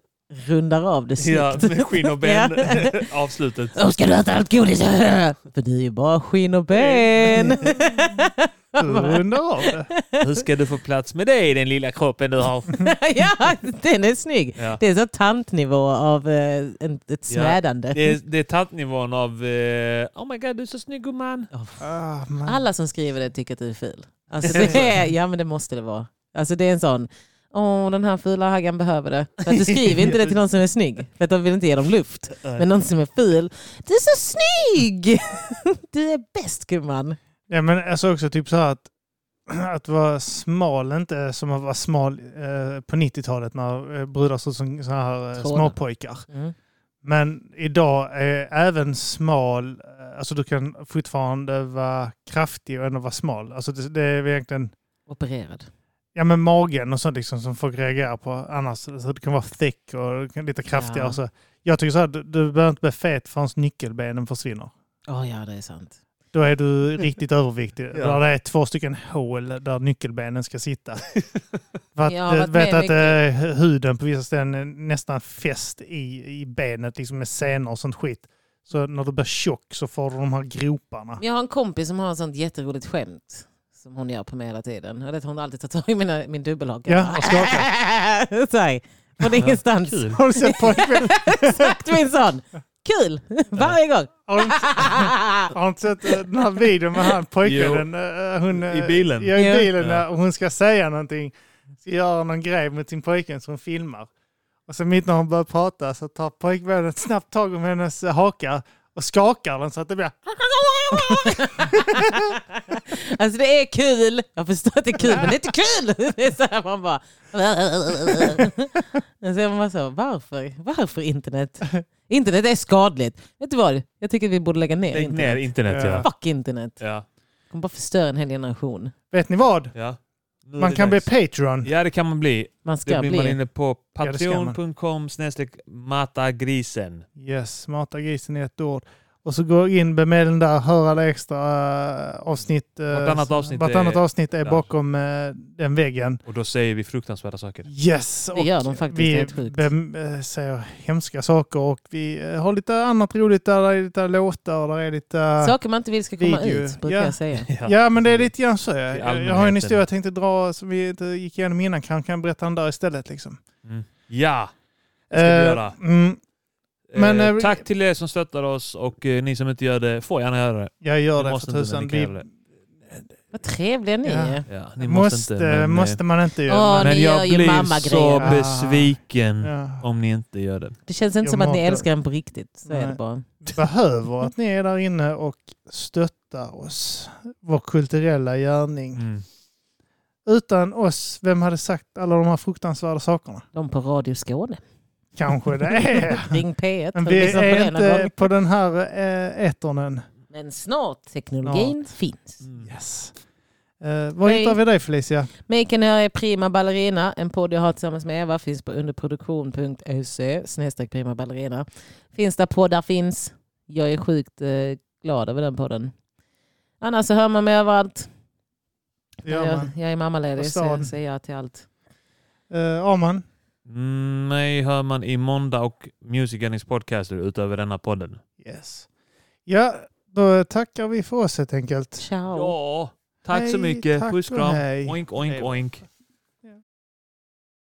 Speaker 1: rundar av det snyggt.
Speaker 2: Ja, med skinn och ben. Avslutet.
Speaker 1: Åh, ska du äta allt godis? För du är ju bara skinn och ben.
Speaker 3: Du rundar av det.
Speaker 2: Hur ska du få plats med det i den lilla kroppen du har?
Speaker 1: ja, den är snygg.
Speaker 2: Ja.
Speaker 1: Det är så tantnivå av eh, en, ett smädande.
Speaker 2: Det är, det är tantnivån av eh, Oh my god, du är så snygg gumman.
Speaker 3: Ah, man.
Speaker 1: Alla som skriver det tycker att du är ful. Alltså, det är, ja men det måste det vara. Alltså det är en sån, åh den här fula haggan behöver det. För att du skriver inte det till någon som är snygg, för att de vill inte ge dem luft. Men någon som är ful, du är så snygg! Du är bäst gumman.
Speaker 3: Ja, men alltså också typ så här att, att vara smal inte är som att vara smal eh, på 90-talet när eh, brudar såg ut som så här eh,
Speaker 1: Trådar.
Speaker 3: småpojkar.
Speaker 1: Mm.
Speaker 3: Men idag är även smal, eh, alltså du kan fortfarande vara kraftig och ändå vara smal. Alltså det, det är egentligen
Speaker 1: Opererad.
Speaker 3: ja, men magen och sånt liksom som folk reagerar på annars. Så du kan vara thick och du kan- lite kraftigare.
Speaker 1: Ja.
Speaker 3: Så jag tycker så här, du, du behöver inte bli fet förrän nyckelbenen försvinner.
Speaker 1: Ja, ja det är sant.
Speaker 3: Då är du riktigt överviktig.
Speaker 2: Ja.
Speaker 3: Där det är två stycken hål där nyckelbenen ska sitta. För att,
Speaker 1: Jag har
Speaker 3: eh,
Speaker 1: varit
Speaker 3: vet
Speaker 1: med
Speaker 3: att eh, huden på vissa ställen är nästan fäst i, i benet liksom med senor och sånt skit. Så när du blir tjock så får du de här groparna.
Speaker 1: Jag har en kompis som har ett sånt jätteroligt skämt som hon gör på mig hela tiden. Jag vet, hon alltid tar tag i mina, min dubbelhaka.
Speaker 3: Ja, och skaka.
Speaker 1: Så här, Från ingenstans.
Speaker 2: Kul.
Speaker 3: Har du sett pojkvännen?
Speaker 1: Exakt min son. Kul! Varje gång.
Speaker 3: Har du, har du inte sett eh, den här videon med han pojkvännen? eh, Hon, eh,
Speaker 2: I bilen.
Speaker 3: Ja, i
Speaker 1: Ja.
Speaker 3: bilen.
Speaker 2: Ja.
Speaker 3: där Och hon ska säga någonting. Ska göra någon grej med sin pojkvän som hon filmar. Och så mitt när hon börjar prata så tar pojkvännen ett snabbt tag om hennes eh, haka och skakar den så att det blir...
Speaker 1: Alltså det är kul. Jag förstår att det är kul, men det är inte kul! Det är så här, man bara... Och så är man bara så, varför? Varför internet? Internet är skadligt. Vet du vad? Jag tycker att vi borde lägga ner
Speaker 2: Lägg
Speaker 1: internet.
Speaker 2: ner internet ja.
Speaker 1: Fuck internet.
Speaker 2: Ja.
Speaker 1: kommer bara förstöra en hel generation.
Speaker 3: Vet ni vad?
Speaker 2: ja. Nu är
Speaker 3: Man
Speaker 2: Mm, det
Speaker 3: kan bli
Speaker 2: dags.
Speaker 3: Patreon.
Speaker 2: Ja, det kan man bli.
Speaker 1: Man ska
Speaker 2: Då
Speaker 1: bli...
Speaker 2: blir man inne på
Speaker 3: Ja, det ska man.
Speaker 2: patreon.com snedstreck matagrisen.
Speaker 3: Yes, mata grisen i ett ord. Och så gå in med den där, hör alla extra eh, avsnitt. eh,
Speaker 2: Vartannat avsnitt
Speaker 3: vartannat
Speaker 2: är
Speaker 3: avsnitt är
Speaker 2: där.
Speaker 3: bakom eh, den väggen.
Speaker 2: Och då säger vi fruktansvärda saker.
Speaker 3: Yes,
Speaker 1: Det gör de faktiskt, det är
Speaker 3: vi
Speaker 1: helt sjukt.
Speaker 3: bem- eh, säger hemska saker och vi eh, har lite annat roligt där. Det är lite låtar och där är lite...
Speaker 1: Saker man inte vill ska komma
Speaker 3: Video.
Speaker 1: ut, brukar
Speaker 3: Ja.
Speaker 1: jag säga.
Speaker 3: Ja, men det är lite grann så. ja. Jag, jag har en
Speaker 2: allmänheten.
Speaker 3: historia jag tänkte dra som vi inte gick igenom innan. Kan, kan jag berätta den där istället liksom.
Speaker 2: Mm. Ja! Det ska vi
Speaker 3: Eh,
Speaker 2: göra.
Speaker 3: Mm, Men,
Speaker 2: eh,
Speaker 3: eh,
Speaker 2: tack till er som stöttar oss och eh, ni som inte gör det får gärna göra det.
Speaker 3: jag
Speaker 2: Ni
Speaker 3: gör det
Speaker 2: måste
Speaker 3: för
Speaker 2: inte, men
Speaker 3: tusan.
Speaker 2: ni kan
Speaker 3: Vi,
Speaker 2: göra det.
Speaker 1: Vad trevliga ni
Speaker 3: Ja.
Speaker 1: är.
Speaker 2: Ja, ni måste,
Speaker 3: måste, måste,
Speaker 2: inte. Men, eh,
Speaker 3: man inte ju.
Speaker 1: Åh,
Speaker 2: men
Speaker 1: ni gör
Speaker 2: jag
Speaker 1: ju
Speaker 2: blir så
Speaker 1: mammagrejer.
Speaker 2: besviken
Speaker 3: ja,
Speaker 2: om ni inte gör det.
Speaker 1: Det känns inte
Speaker 3: Jag
Speaker 1: som att ni
Speaker 3: matar.
Speaker 1: älskar den på riktigt. Så är
Speaker 3: Nej.
Speaker 1: det bara.
Speaker 3: behöver att ni är där inne och stöttar oss. Vår kulturella gärning.
Speaker 2: Mm.
Speaker 3: Utan oss, vem hade sagt alla de här fruktansvärda sakerna?
Speaker 1: De på Radio Skåne.
Speaker 3: Kanske det är.
Speaker 1: Ring P1.
Speaker 3: Men
Speaker 1: och
Speaker 3: vi
Speaker 1: lyssna på
Speaker 3: är
Speaker 1: det någon
Speaker 3: inte
Speaker 1: gång.
Speaker 3: på den här eh, etern än.
Speaker 1: Men snart teknologin finns.
Speaker 2: Mm.
Speaker 3: Yes. Eh, var
Speaker 1: Hej.
Speaker 3: hittar vi dig Felicia?
Speaker 1: Mig kan ni höra i Prima Ballerina, en podd jag har tillsammans med Eva. Finns på E underproduktion.se snedstreck Prima Ballerina. Finns där poddar finns. Jag är sjukt eh, glad över den podden. Annars så hör man mig överallt.
Speaker 3: Ja,
Speaker 1: jag,
Speaker 3: man.
Speaker 1: jag är
Speaker 3: På
Speaker 1: mammaledig så
Speaker 3: stan.
Speaker 1: jag säger ja till allt.
Speaker 3: Eh, Arman,
Speaker 2: Mm, mig hör man i måndag och Music Earnings Podcaster utöver denna podden.
Speaker 3: Yes. Ja, då tackar vi för oss helt enkelt.
Speaker 1: Ciao.
Speaker 2: Ja, tack så
Speaker 3: Hej,
Speaker 2: mycket.
Speaker 3: tack
Speaker 2: Puss
Speaker 3: och
Speaker 2: kram.
Speaker 3: hej.
Speaker 2: Oink, oink,
Speaker 3: Hej.
Speaker 2: oink.